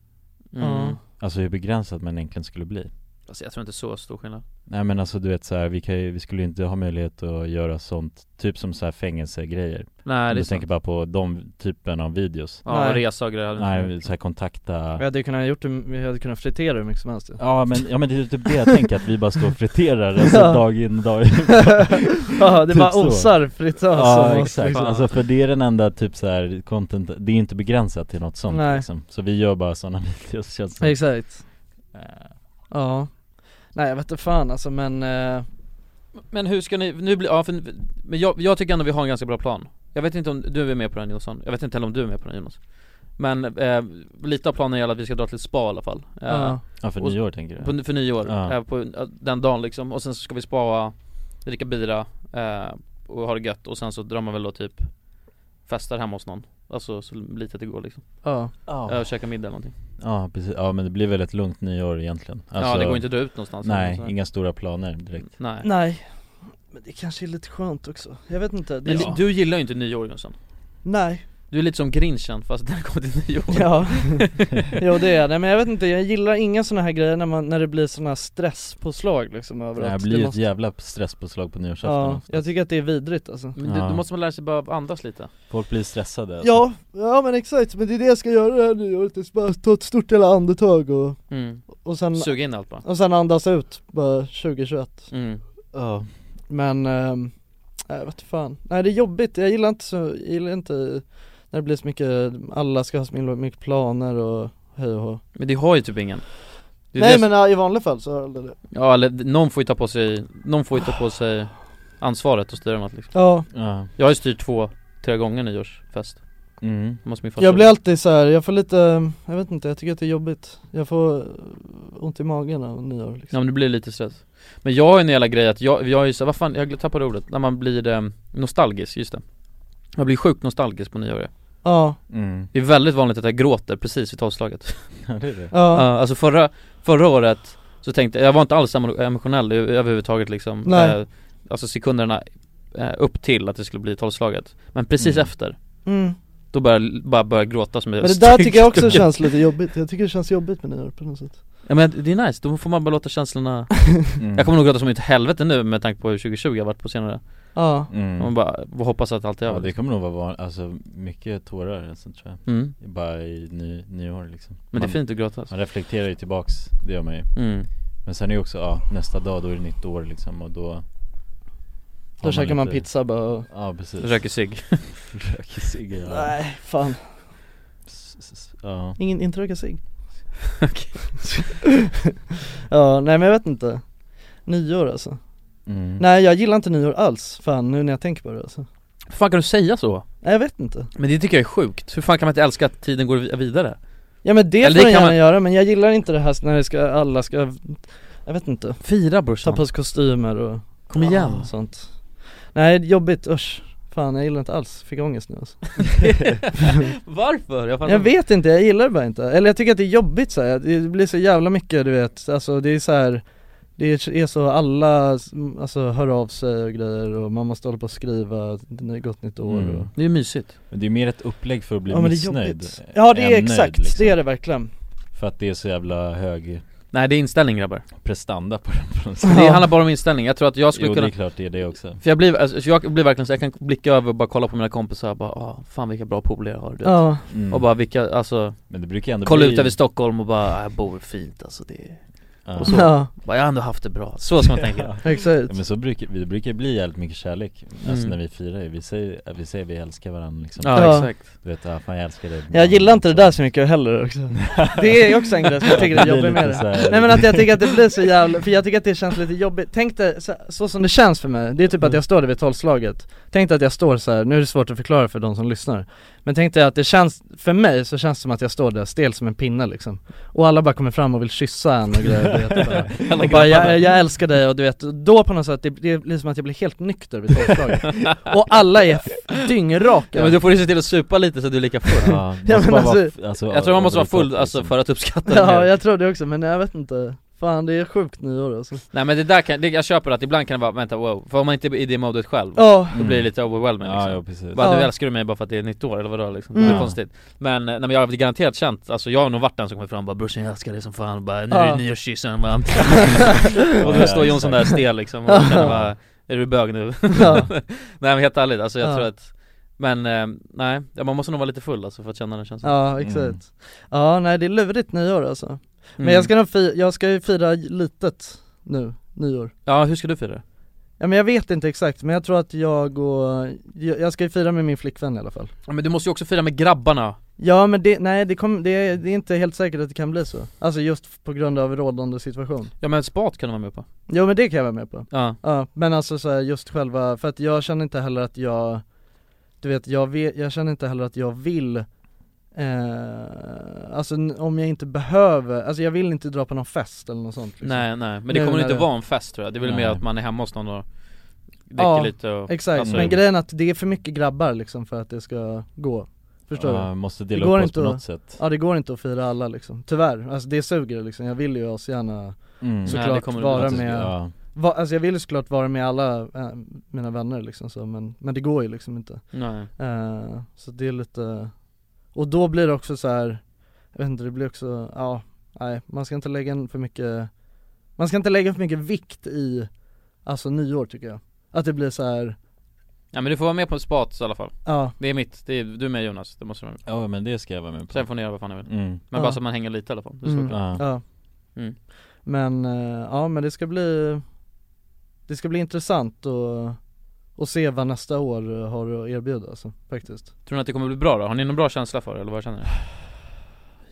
[SPEAKER 3] mm.
[SPEAKER 5] Ja.
[SPEAKER 2] Alltså hur begränsat man egentligen skulle bli
[SPEAKER 3] Alltså jag tror inte så stor skillnad
[SPEAKER 2] Nej men alltså du vet så här, vi, kan ju, vi skulle ju inte ha möjlighet att göra sånt, typ som så här fängelsegrejer
[SPEAKER 3] Nej det är
[SPEAKER 2] Du
[SPEAKER 3] sant
[SPEAKER 2] tänker bara på de typen av videos
[SPEAKER 3] Ja,
[SPEAKER 5] Nej.
[SPEAKER 3] resa och grejer hade inte-
[SPEAKER 2] Nej, så här kontakta
[SPEAKER 5] Vi hade ju kunnat gjort det, vi hade kunnat fritera hur mycket som helst ju.
[SPEAKER 2] Ja men, ja men det är typ det jag tänker, att vi bara står och friterar alltså
[SPEAKER 5] (laughs) Ja.
[SPEAKER 2] dag in och dag ut
[SPEAKER 5] (laughs) Ja det
[SPEAKER 2] Typ
[SPEAKER 5] bara
[SPEAKER 2] så.
[SPEAKER 5] osar fritös
[SPEAKER 2] Ja
[SPEAKER 5] om oss,
[SPEAKER 2] exakt,
[SPEAKER 5] liksom.
[SPEAKER 2] alltså för det är den enda typ så här content, det är ju inte begränsat till något sånt
[SPEAKER 5] Nej.
[SPEAKER 2] liksom Så vi gör bara sådana (laughs) videos känns det
[SPEAKER 5] alltså, Exakt Ja Nej jag vet inte fan alltså men eh,
[SPEAKER 3] Men hur ska ni, nu blir, ja för, men jag, jag tycker ändå vi har en ganska bra plan Jag vet inte om du är med på den Jonsson, jag vet inte heller om du är med på den Jonas Men eh, lite av planen gäller att vi ska dra till ett spa i alla fall eh,
[SPEAKER 2] Ja. Ja, för
[SPEAKER 3] och-
[SPEAKER 2] nyår tänker du?
[SPEAKER 3] På, för nyår,
[SPEAKER 2] Ja.
[SPEAKER 3] eh, på, eh, den dagen liksom och sen så ska vi spaa, dricka bira eh, och ha det gött och sen så drar man väl då typ Festar hemma hos någon, alltså så lite det går liksom
[SPEAKER 5] Ja.
[SPEAKER 2] Ja.
[SPEAKER 3] eh, Käka middag eller någonting
[SPEAKER 2] Ja precis, ja men det blir väl ett lugnt nyår egentligen
[SPEAKER 3] Ja det går inte att dra ut någonstans
[SPEAKER 2] Alltså, Nej,
[SPEAKER 3] Så-
[SPEAKER 2] inga stora planer direkt
[SPEAKER 3] Nej,
[SPEAKER 5] Nej Men det kanske är lite skönt också, jag vet inte det
[SPEAKER 3] Men
[SPEAKER 5] är...
[SPEAKER 3] du- du gillar ju inte nyår Jonsson
[SPEAKER 5] Nej
[SPEAKER 3] Du är lite som grinchen fast när det kommer till nyår
[SPEAKER 5] (laughs)
[SPEAKER 2] (laughs)
[SPEAKER 5] Ja, jo det är det, men jag vet inte, jag gillar inga sådana här grejer när, man, när det blir sådana här stresspåslag liksom överallt
[SPEAKER 2] Det blir ju ett
[SPEAKER 5] måste-
[SPEAKER 2] jävla stresspåslag på nyårsafton
[SPEAKER 5] Ja,
[SPEAKER 2] också.
[SPEAKER 5] jag tycker att det är vidrigt alltså
[SPEAKER 3] Men du,
[SPEAKER 2] Ja.
[SPEAKER 3] då måste man lära sig bara andas lite
[SPEAKER 2] Folk blir stressade alltså.
[SPEAKER 5] Ja, ja men exakt, men det är det jag ska göra det här nyåret, jag ska bara ta ett stort jävla andetag och,
[SPEAKER 3] mm.
[SPEAKER 5] och sen
[SPEAKER 3] Suga in allt bara
[SPEAKER 5] Och sen andas ut, bara 2021
[SPEAKER 3] mm.
[SPEAKER 2] Ja.
[SPEAKER 5] Men, ehm, nej vad fan Nej det är jobbigt, jag gillar inte så, jag gillar inte när det blir så mycket, alla ska ha så mycket- mycket planer och hej och hå.
[SPEAKER 3] Men det har ju typ ingen Det är
[SPEAKER 5] Nej
[SPEAKER 3] det som-
[SPEAKER 5] men ja, i vanliga fall så har jag aldrig det
[SPEAKER 3] Ja eller någon får ju ta på sig, någon får ju ta på sig ansvaret och styra något liksom
[SPEAKER 5] Ja,
[SPEAKER 2] ja.
[SPEAKER 3] Jag har ju styrt två, tre gånger nyårsfest
[SPEAKER 2] Mm.
[SPEAKER 3] Hemma hos min farsa.
[SPEAKER 5] jag blir alltid så här. jag får lite, jag vet inte, jag tycker att det är jobbigt Jag får eh, ont i magen av nyår liksom
[SPEAKER 3] Ja men det blir lite stress Men jag har ju en jävla grej att jag, jag är ju så, vad fan, jag tappade ordet, när man blir eh, nostalgisk, just det Jag blir sjukt nostalgisk på nyår ja.
[SPEAKER 5] Ja,
[SPEAKER 2] Mm.
[SPEAKER 3] Det är väldigt vanligt att jag gråter precis vid tolvslaget
[SPEAKER 2] ja, det är det
[SPEAKER 5] ja,
[SPEAKER 3] Ja, alltså förra, förra året så tänkte jag, jag var inte alls emo- emotionell ö- överhuvudtaget liksom
[SPEAKER 5] Nej.
[SPEAKER 3] Eh, Alltså sekunderna eh, upp till att det skulle bli tolvslaget Men precis
[SPEAKER 2] Mm.
[SPEAKER 3] efter,
[SPEAKER 5] mm.
[SPEAKER 3] då började jag bara började gråta som
[SPEAKER 5] Men det där tycker jag också känns lite jobbigt, jag tycker det känns jobbigt med nyår på något sätt
[SPEAKER 3] Ja men det är nice, då får man bara låta känslorna
[SPEAKER 2] mm.
[SPEAKER 3] Jag kommer nog gråta som ett helvete nu med tanke på hur 2020 har varit på senare
[SPEAKER 5] Ja,
[SPEAKER 2] mm.
[SPEAKER 3] Man bara får hoppas att allt är
[SPEAKER 2] Ja
[SPEAKER 3] över
[SPEAKER 2] det kommer nog vara van... alltså mycket tårar alltså, tror jag
[SPEAKER 3] mm.
[SPEAKER 2] Bara i ny, nyår liksom
[SPEAKER 3] Men det är
[SPEAKER 2] man,
[SPEAKER 3] fint att gråta alltså.
[SPEAKER 2] man reflekterar ju tillbaks, det gör man ju
[SPEAKER 3] mm.
[SPEAKER 2] Men sen är ju också, ja nästa dag då är det nytt år liksom och då
[SPEAKER 5] då käkar man
[SPEAKER 2] lite-
[SPEAKER 5] pizza bara och...
[SPEAKER 2] Ja precis (laughs)
[SPEAKER 3] Röker cigg
[SPEAKER 2] Röker cigg ja.
[SPEAKER 5] Nej, fan,
[SPEAKER 2] S- s- s- ja
[SPEAKER 5] ingen, inte röka (laughs) cigg Ja, nej men jag vet inte Nyår alltså
[SPEAKER 2] mm.
[SPEAKER 5] Nej jag gillar inte nyår alls, fan nu när jag tänker på det alltså
[SPEAKER 3] Hur fan kan du säga så?
[SPEAKER 5] Nej jag vet inte
[SPEAKER 3] Men det tycker jag är sjukt, hur fan kan man inte älska att tiden går vi- vidare?
[SPEAKER 5] Ja men det
[SPEAKER 3] Eller det
[SPEAKER 5] får den
[SPEAKER 3] kan
[SPEAKER 5] gärna
[SPEAKER 3] man-
[SPEAKER 5] göra men jag gillar inte det här när det ska, alla ska, jag vet inte,
[SPEAKER 3] Fira
[SPEAKER 5] ta
[SPEAKER 3] brorsan,
[SPEAKER 5] på sig kostymer och
[SPEAKER 3] kom igen
[SPEAKER 5] och sånt Nej jobbigt, usch Fan jag gillar inte alls, fick ångest nu alltså.
[SPEAKER 3] (laughs) Varför? Jag, fattar
[SPEAKER 5] Jag
[SPEAKER 3] inte.
[SPEAKER 5] vet inte, jag gillar det bara inte, eller jag tycker att det är jobbigt så här. det blir så jävla mycket du vet, alltså det är så här det är så alla, alltså hör av sig och grejer och man måste hålla på och skriva, gott nytt år
[SPEAKER 2] Mm.
[SPEAKER 5] och
[SPEAKER 3] Det är ju mysigt
[SPEAKER 2] Men det är mer ett upplägg för att bli
[SPEAKER 5] Ja men det är
[SPEAKER 2] missnöjd
[SPEAKER 5] jobbigt Ja det
[SPEAKER 2] än
[SPEAKER 5] är
[SPEAKER 2] nöjd,
[SPEAKER 5] exakt,
[SPEAKER 2] liksom.
[SPEAKER 5] det är det verkligen
[SPEAKER 2] För att det är så jävla hög
[SPEAKER 3] Nej det är inställning grabbar
[SPEAKER 2] prestanda på den på något sätt
[SPEAKER 5] Ja.
[SPEAKER 3] Det handlar bara om inställning, jag tror att jag skulle
[SPEAKER 2] Jo det
[SPEAKER 3] kunna
[SPEAKER 2] är klart det är det också
[SPEAKER 3] För jag blir, alltså, jag blir verkligen så jag kan blicka över och bara kolla på mina kompisar och bara ah, fan vilka bra polare jag har du vet.
[SPEAKER 5] Ja,
[SPEAKER 2] Mm.
[SPEAKER 3] Och bara vilka, alltså
[SPEAKER 2] Men det brukar ändå
[SPEAKER 3] kolla
[SPEAKER 2] bli...
[SPEAKER 3] ut över Stockholm och bara ah, jag bor fint alltså det är...
[SPEAKER 2] ja.
[SPEAKER 3] och så.
[SPEAKER 5] ja,
[SPEAKER 3] bara, jag har ändå haft det bra, så ska man
[SPEAKER 5] (laughs)
[SPEAKER 3] tänka
[SPEAKER 5] exakt
[SPEAKER 2] Ja, men så brukar, vi brukar bli jävligt mycket kärlek, alltså
[SPEAKER 3] Mm.
[SPEAKER 2] när vi firar ju. vi säger, vi säger vi älskar varandra liksom
[SPEAKER 3] Ja,
[SPEAKER 5] Ja.
[SPEAKER 3] exakt
[SPEAKER 2] Du vet, ja, fan jag älskar dig
[SPEAKER 5] Jag gillar inte det där så mycket
[SPEAKER 3] (laughs)
[SPEAKER 5] heller också Det är också en grej som jag tycker är jobbig med det Nej men att jag tycker att det blir så jävla, för jag tycker att det känns lite jobbigt Tänk dig, så, så som det känns för mig, det är typ att jag står där vid tolvslaget Tänk dig att jag står så här. nu är det svårt att förklara för de som lyssnar Men tänk dig att det känns, för mig så känns det som att jag står där stel som en pinne liksom Och alla bara kommer fram och vill kyssa en och grejer du vet,
[SPEAKER 3] (laughs)
[SPEAKER 2] (laughs)
[SPEAKER 5] bara. Och bara jag, jag älskar dig och du vet, då på något sätt, det, det blir som att jag blir helt nykter vid tolvslaget
[SPEAKER 3] (laughs)
[SPEAKER 5] Och alla är f- dyngraka
[SPEAKER 3] ja, men du får ju se till att supa lite så att du är lika full
[SPEAKER 2] ja,
[SPEAKER 5] Ja, men
[SPEAKER 2] men
[SPEAKER 5] alltså-
[SPEAKER 2] alltså, alltså,
[SPEAKER 3] (laughs) Jag tror man måste vara
[SPEAKER 2] over the
[SPEAKER 3] full
[SPEAKER 2] top,
[SPEAKER 3] alltså
[SPEAKER 2] liksom.
[SPEAKER 3] för att uppskatta det
[SPEAKER 5] Ja
[SPEAKER 3] här.
[SPEAKER 5] jag tror det också men jag vet inte Fan det är sjukt nyår alltså
[SPEAKER 3] Nej men det där kan, det, jag köper att ibland kan det vara, vänta wow, för om man inte är i det modet själv
[SPEAKER 5] Ja,
[SPEAKER 3] Då blir det lite overwhelming liksom.
[SPEAKER 2] Ja, ja precis
[SPEAKER 3] Bara,
[SPEAKER 5] Ja.
[SPEAKER 3] nu älskar du mig bara för att det är nytt år eller vadå liksom?
[SPEAKER 5] Mm.
[SPEAKER 3] Det är konstigt Men, eh, nej, men jag har garanterat känt, alltså jag har nog varit den som kommer fram och bara 'brorsan jag älskar dig som fan' och bara 'nu är
[SPEAKER 5] Ja.
[SPEAKER 3] det nyårskyssen'
[SPEAKER 5] (laughs)
[SPEAKER 3] bara. Och då står Jonsson där stel liksom och känner bara 'är du bög nu?'
[SPEAKER 5] (laughs) ja,
[SPEAKER 3] (laughs) Nej men helt ärligt, alltså jag
[SPEAKER 5] Ja.
[SPEAKER 3] tror att Men, eh, nej, ja, man måste nog vara lite full alltså för att känna den känslan
[SPEAKER 5] ja exakt
[SPEAKER 2] Mm.
[SPEAKER 5] Ja nej det är lurigt nyår alltså Men
[SPEAKER 3] Mm.
[SPEAKER 5] jag ska nog fi- jag ska ju fira litet nu, nyår
[SPEAKER 3] Ja hur ska du fira det?
[SPEAKER 5] Ja men jag vet inte exakt men jag tror att jag och, jag jag ska ju fira med min flickvän i alla fall
[SPEAKER 3] Ja, men du måste ju också fira med grabbarna
[SPEAKER 5] Ja men det, nej det, kom, det, är- det är inte helt säkert att det kan bli så Alltså just f- på grund av rådande situation
[SPEAKER 3] Ja men spat kan de vara med på
[SPEAKER 5] Jo men det kan jag vara med på
[SPEAKER 3] Ja.
[SPEAKER 5] Ja men alltså så här, just själva, för att jag känner inte heller att jag Du vet, jag, vet, jag känner inte heller att jag vill eh, Alltså n- om jag inte behöver, alltså jag vill inte dra på någon fest eller något sånt liksom.
[SPEAKER 3] Nej nej, men
[SPEAKER 5] Nu
[SPEAKER 3] det kommer
[SPEAKER 5] när
[SPEAKER 3] inte vara en fest tror jag, det är väl
[SPEAKER 5] Nej.
[SPEAKER 3] mer att man är hemma hos någon och dricker
[SPEAKER 5] Ja,
[SPEAKER 3] lite och
[SPEAKER 5] Exakt,
[SPEAKER 3] alltså,
[SPEAKER 5] men grejen är att det är för mycket grabbar liksom för att det ska gå Förstår
[SPEAKER 2] Ja,
[SPEAKER 5] du?
[SPEAKER 2] måste
[SPEAKER 5] Det
[SPEAKER 2] dela
[SPEAKER 5] går
[SPEAKER 2] upp oss
[SPEAKER 5] inte
[SPEAKER 2] på
[SPEAKER 5] att-
[SPEAKER 2] något sätt.
[SPEAKER 5] Ja det går inte att fira alla liksom, tyvärr, alltså det suger liksom, jag vill ju asgärna
[SPEAKER 2] Mm.
[SPEAKER 5] såklart
[SPEAKER 3] Nej, det kommer det
[SPEAKER 5] vara
[SPEAKER 3] bli.
[SPEAKER 5] med
[SPEAKER 2] Ja.
[SPEAKER 5] va, Alltså jag vill ju såklart vara med alla eh, mina vänner liksom så, men, men det går ju liksom inte
[SPEAKER 3] Nej
[SPEAKER 5] Eh, Så det är lite, och då blir det också så här, jag vet inte, det blir också, ja, nej man ska inte lägga in för mycket, man ska inte lägga för mycket vikt i, alltså nyår tycker jag Att det blir så här,
[SPEAKER 3] Ja men du får vara med på spat i alla fall
[SPEAKER 5] ja
[SPEAKER 3] Det är mitt, det är, du är med Jonas, det måste du vara med
[SPEAKER 2] ja men det ska jag vara med
[SPEAKER 3] på.
[SPEAKER 2] på.
[SPEAKER 3] Sen får ni göra vad fan ni vill
[SPEAKER 2] Mm.
[SPEAKER 3] Men
[SPEAKER 5] Ja.
[SPEAKER 3] bara så att man hänger lite i alla fall, det är så
[SPEAKER 5] Mm.
[SPEAKER 3] klart.
[SPEAKER 2] Ja.
[SPEAKER 5] Ja
[SPEAKER 3] Mm.
[SPEAKER 5] Men, eh, ja men det ska bli Det ska bli intressant och, och se vad nästa år eh, har att erbjuda alltså, faktiskt
[SPEAKER 3] Tror ni att det kommer bli bra då? Har ni någon bra känsla för det eller vad känner ni?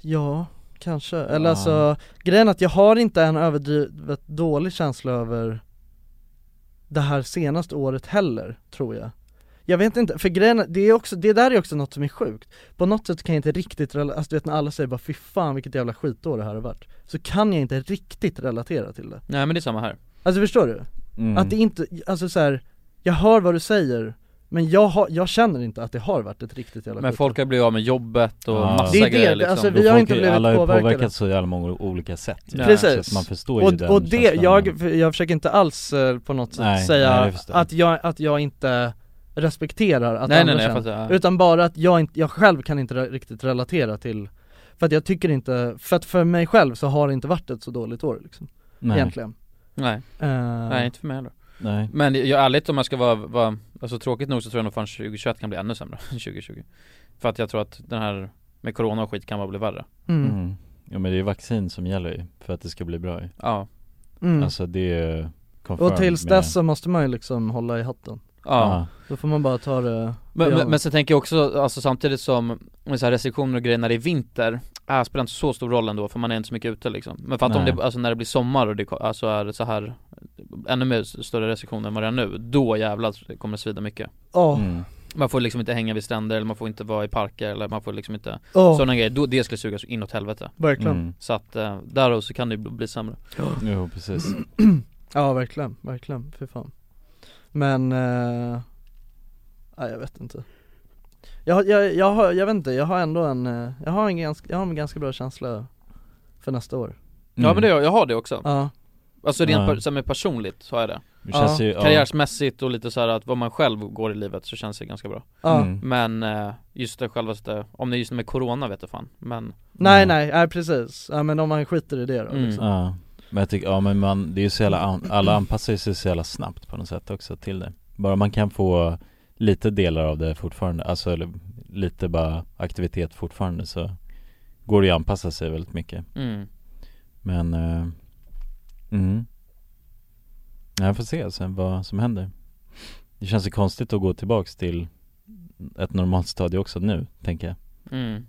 [SPEAKER 5] Ja, kanske, eller
[SPEAKER 2] Ja.
[SPEAKER 5] alltså Grejen är att jag har inte en överdrivet dålig känsla över Det här senaste året heller, tror jag jag vet inte, för grejen, är- det är också, det där är också något som är sjukt På något sätt kan jag inte riktigt, rela- alltså du vet när alla säger bara fy fan vilket jävla skitår det här har varit Så kan jag inte riktigt relatera till det
[SPEAKER 3] Nej men det är samma här
[SPEAKER 5] Alltså förstår du?
[SPEAKER 2] Mm.
[SPEAKER 5] Att det inte, alltså så här, jag hör vad du säger men jag, har, jag känner inte att det har varit ett riktigt jävla
[SPEAKER 3] Men
[SPEAKER 5] skit.
[SPEAKER 3] folk har blivit av med jobbet och
[SPEAKER 2] Ja.
[SPEAKER 3] massa
[SPEAKER 2] Det
[SPEAKER 5] är det,
[SPEAKER 3] grejer liksom
[SPEAKER 5] alltså,
[SPEAKER 2] Då
[SPEAKER 5] vi har
[SPEAKER 2] folk
[SPEAKER 5] inte
[SPEAKER 2] är-
[SPEAKER 5] blivit
[SPEAKER 2] Alla har ju
[SPEAKER 5] påverkade.
[SPEAKER 2] påverkats så jävla många olika sätt. ju.
[SPEAKER 3] Nej.
[SPEAKER 2] Så
[SPEAKER 5] Precis!
[SPEAKER 2] att man förstår ju
[SPEAKER 5] och,
[SPEAKER 2] den
[SPEAKER 5] och det,
[SPEAKER 2] känslan.
[SPEAKER 5] jag, för jag försöker inte alls eh, på något sätt
[SPEAKER 2] Nej,
[SPEAKER 5] säga
[SPEAKER 2] nej, jag förstår.
[SPEAKER 5] att, jag, att jag inte respekterar att
[SPEAKER 3] Nej
[SPEAKER 5] andra
[SPEAKER 3] nej nej jag
[SPEAKER 5] känner
[SPEAKER 3] fattar, ja.
[SPEAKER 5] Utan bara att jag, inte, jag själv kan inte re- riktigt relatera till För att jag tycker inte, för att för mig själv så har det inte varit ett så dåligt år liksom,
[SPEAKER 2] Nej.
[SPEAKER 5] egentligen
[SPEAKER 3] nej,
[SPEAKER 5] Eh,
[SPEAKER 3] nej inte för mig heller
[SPEAKER 2] Nej.
[SPEAKER 3] Men jag, ärligt om jag ska vara, vara, alltså tråkigt nog så tror jag nog fan 2021 kan bli ännu sämre (laughs) än 2020 För att jag tror att den här med corona och skit kan bara bli värre
[SPEAKER 5] mm. Mm.
[SPEAKER 2] Mm. Ja men det är ju vaccin som gäller ju för att det ska bli bra ju.
[SPEAKER 3] Ja,
[SPEAKER 2] Alltså det är ju confirmed
[SPEAKER 5] mm. Och tills
[SPEAKER 2] med-
[SPEAKER 5] dess så måste man ju liksom hålla i hatten
[SPEAKER 3] ja.
[SPEAKER 5] Då får man bara ta det
[SPEAKER 3] Men,
[SPEAKER 5] Ja.
[SPEAKER 3] men, men sen tänker jag också, alltså samtidigt som med så här restriktioner och grejer när det är vinter, äh, spelar inte så stor roll ändå för man är inte så mycket ute liksom Men för att om
[SPEAKER 2] Nej.
[SPEAKER 3] det, alltså när det blir sommar och det ko- alltså är så här ännu mer s- större restriktioner än vad det är nu, då jävlar kommer det svida mycket
[SPEAKER 5] Ja,
[SPEAKER 2] Mm.
[SPEAKER 3] Man får liksom inte hänga vid stränder eller man får inte vara i parker eller man får liksom inte,
[SPEAKER 5] ja,
[SPEAKER 3] sådana grejer, då, det skulle suga så inåt helvete
[SPEAKER 5] verkligen
[SPEAKER 2] Mm.
[SPEAKER 3] Så att, eh, därav så kan det ju bli bli sämre
[SPEAKER 2] Jo precis.
[SPEAKER 5] Ja verkligen, verkligen, för fan Men, eh, nej jag vet inte jag, jag, jag, har, jag vet inte, jag har ändå en, eh, jag har en ganska, jag har en ganska bra känsla för nästa år
[SPEAKER 3] Ja men det, jag har det också,
[SPEAKER 5] Ja,
[SPEAKER 3] alltså rent
[SPEAKER 2] Mm. Ja.
[SPEAKER 3] per, så här med personligt så har jag det
[SPEAKER 2] Det känns
[SPEAKER 5] Ja.
[SPEAKER 2] ju, ja.
[SPEAKER 3] Karriärsmässigt och lite så här att vad man själv går i livet så känns det ganska bra
[SPEAKER 5] ja
[SPEAKER 2] Mm.
[SPEAKER 3] Men eh, just det självaste, eh, om det är just med corona vet jag fan Men
[SPEAKER 5] Nej
[SPEAKER 2] Mm.
[SPEAKER 5] nej, nej precis, ja men om man skiter i det då
[SPEAKER 3] Mm.
[SPEAKER 5] liksom.
[SPEAKER 2] Ja. Men jag tycker, ja men man, det är ju så jävla, an- alla anpassar sig så jävla snabbt på något sätt också till det. Bara man kan få lite delar av det fortfarande, alltså eller lite bara aktivitet fortfarande så går det ju att anpassa sig väldigt mycket.
[SPEAKER 3] mm.
[SPEAKER 2] Men, eh, mm. Ja, Jag får se sen vad som händer. Det känns ju konstigt att gå tillbaks till ett normalt stadie också nu, tänker jag.
[SPEAKER 3] Mm.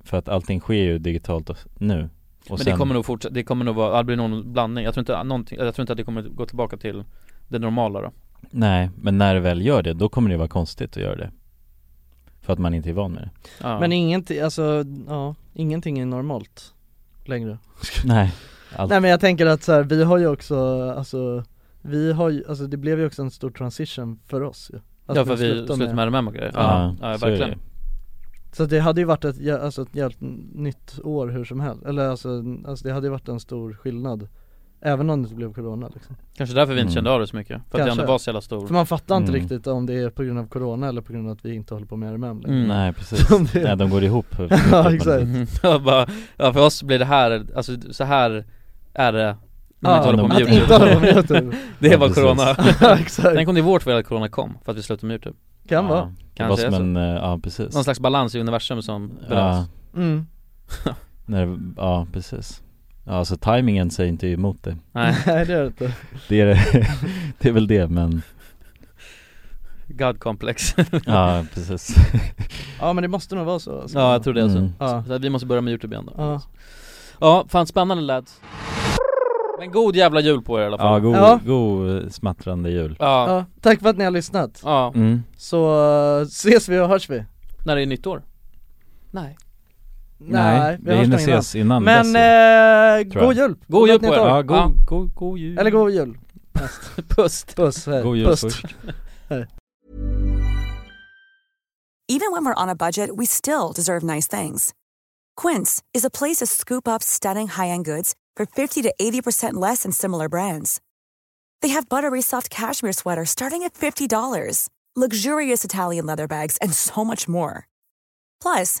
[SPEAKER 2] För att allting sker ju digitalt och- nu. Och
[SPEAKER 3] Men det kommer nog fortsätta, det kommer nog vara, det blir någon blandning Jag tror inte, någonting, jag tror inte att det kommer gå tillbaka till det normala då
[SPEAKER 2] Nej, men när det väl gör det, då kommer det vara konstigt att göra det För att man inte är van
[SPEAKER 5] (laughs)
[SPEAKER 2] med det
[SPEAKER 3] ja.
[SPEAKER 5] Men ingenting, alltså, ja, ingenting är normalt längre
[SPEAKER 2] Nej, allt,
[SPEAKER 5] Nej men jag tänker att så här, vi har ju också, alltså, vi har ju, alltså det blev ju också en stor transition för oss ju Att
[SPEAKER 3] Ja för
[SPEAKER 5] vi
[SPEAKER 3] vi
[SPEAKER 5] slutar
[SPEAKER 3] slutar med, med RMM och grejer
[SPEAKER 2] Ja,
[SPEAKER 3] Ja, ja,
[SPEAKER 2] så är det.
[SPEAKER 3] verkligen
[SPEAKER 5] Så det hade ju varit ett, jä- alltså ett jävligt n- nytt år hur som helst, eller alltså, n- alltså det hade ju varit en stor skillnad Även om det inte blev corona liksom.
[SPEAKER 3] Kanske därför vi inte
[SPEAKER 2] Mm.
[SPEAKER 3] kände av det så mycket, för att det
[SPEAKER 5] Kanske.
[SPEAKER 3] ändå var så jävla
[SPEAKER 5] För
[SPEAKER 3] stor
[SPEAKER 5] man fattar inte
[SPEAKER 2] Mm.
[SPEAKER 5] riktigt om det är på grund av corona eller på grund av att vi inte håller på med RMM längre.
[SPEAKER 3] Mm.
[SPEAKER 2] Nej precis,
[SPEAKER 5] (laughs) Som det-
[SPEAKER 2] Nej, de går ihop
[SPEAKER 5] Ja, exakt.
[SPEAKER 3] Mm. (laughs) Jag bara, ja för oss blir det här, alltså så här är det när man
[SPEAKER 5] Ja,
[SPEAKER 3] inte håller på med
[SPEAKER 5] att
[SPEAKER 3] YouTube
[SPEAKER 5] inte hålla på med YouTube
[SPEAKER 3] (laughs) Det
[SPEAKER 2] Ja,
[SPEAKER 3] var
[SPEAKER 2] precis.
[SPEAKER 3] corona
[SPEAKER 2] (laughs)
[SPEAKER 5] Ja, Exakt,
[SPEAKER 3] Tänk om det är vårt fel att corona kom, för att vi slutade med YouTube
[SPEAKER 5] kan
[SPEAKER 2] ja,
[SPEAKER 5] vara
[SPEAKER 2] Det var
[SPEAKER 3] Kanske är
[SPEAKER 2] som
[SPEAKER 3] så.
[SPEAKER 2] en, eh, ja precis
[SPEAKER 3] typ. Någon slags balans i universum som
[SPEAKER 2] (laughs)
[SPEAKER 3] bröts
[SPEAKER 2] ja,
[SPEAKER 5] mm.
[SPEAKER 2] när, det- ja, precis Ja, alltså tajmingen säger inte emot det
[SPEAKER 5] (laughs)
[SPEAKER 3] Nej
[SPEAKER 2] (laughs)
[SPEAKER 5] Nej det är det inte
[SPEAKER 2] Det är, det, det är väl det men
[SPEAKER 3] God complex
[SPEAKER 2] Ja, precis
[SPEAKER 5] Ja men det måste nog vara så
[SPEAKER 3] (laughs)
[SPEAKER 5] alltså.
[SPEAKER 3] Ja jag tror det alltså.
[SPEAKER 2] Mm.
[SPEAKER 5] Ja.
[SPEAKER 3] Så att vi måste börja med youtube igen då
[SPEAKER 5] Ja.
[SPEAKER 3] Ja, fan spännande lads Men god jävla jul på er i alla
[SPEAKER 2] Ja,
[SPEAKER 3] fall
[SPEAKER 2] god,
[SPEAKER 5] Ja.
[SPEAKER 2] god smattrande jul
[SPEAKER 3] Ja,
[SPEAKER 5] Ja, tack för att ni har lyssnat.
[SPEAKER 3] ja,
[SPEAKER 2] mm.
[SPEAKER 5] Så eh, ses vi och hörs vi.
[SPEAKER 3] när det är nytt år Nej
[SPEAKER 2] Nej, vi
[SPEAKER 5] hörs
[SPEAKER 2] hinner
[SPEAKER 5] nog innan.
[SPEAKER 2] ses innan
[SPEAKER 5] Men
[SPEAKER 2] dess ju.
[SPEAKER 5] eh,
[SPEAKER 2] tror
[SPEAKER 5] god
[SPEAKER 2] jag.
[SPEAKER 5] jul!
[SPEAKER 3] God jul
[SPEAKER 5] Gott
[SPEAKER 3] på
[SPEAKER 5] nytt
[SPEAKER 3] er!
[SPEAKER 5] år.
[SPEAKER 2] Ja, god,
[SPEAKER 3] Ja.
[SPEAKER 2] God, god jul (laughs)
[SPEAKER 5] Eller god jul!
[SPEAKER 3] Puss!
[SPEAKER 5] Puss, hej.
[SPEAKER 2] God jul
[SPEAKER 5] Puss.
[SPEAKER 2] först
[SPEAKER 1] Even when we're on a budget, we still deserve nice things. Quince is a place to scoop up stunning high end goods for 50 to 80% less than similar brands. They have buttery soft cashmere sweaters starting at $50, luxurious Italian leather bags, and so much more. Plus,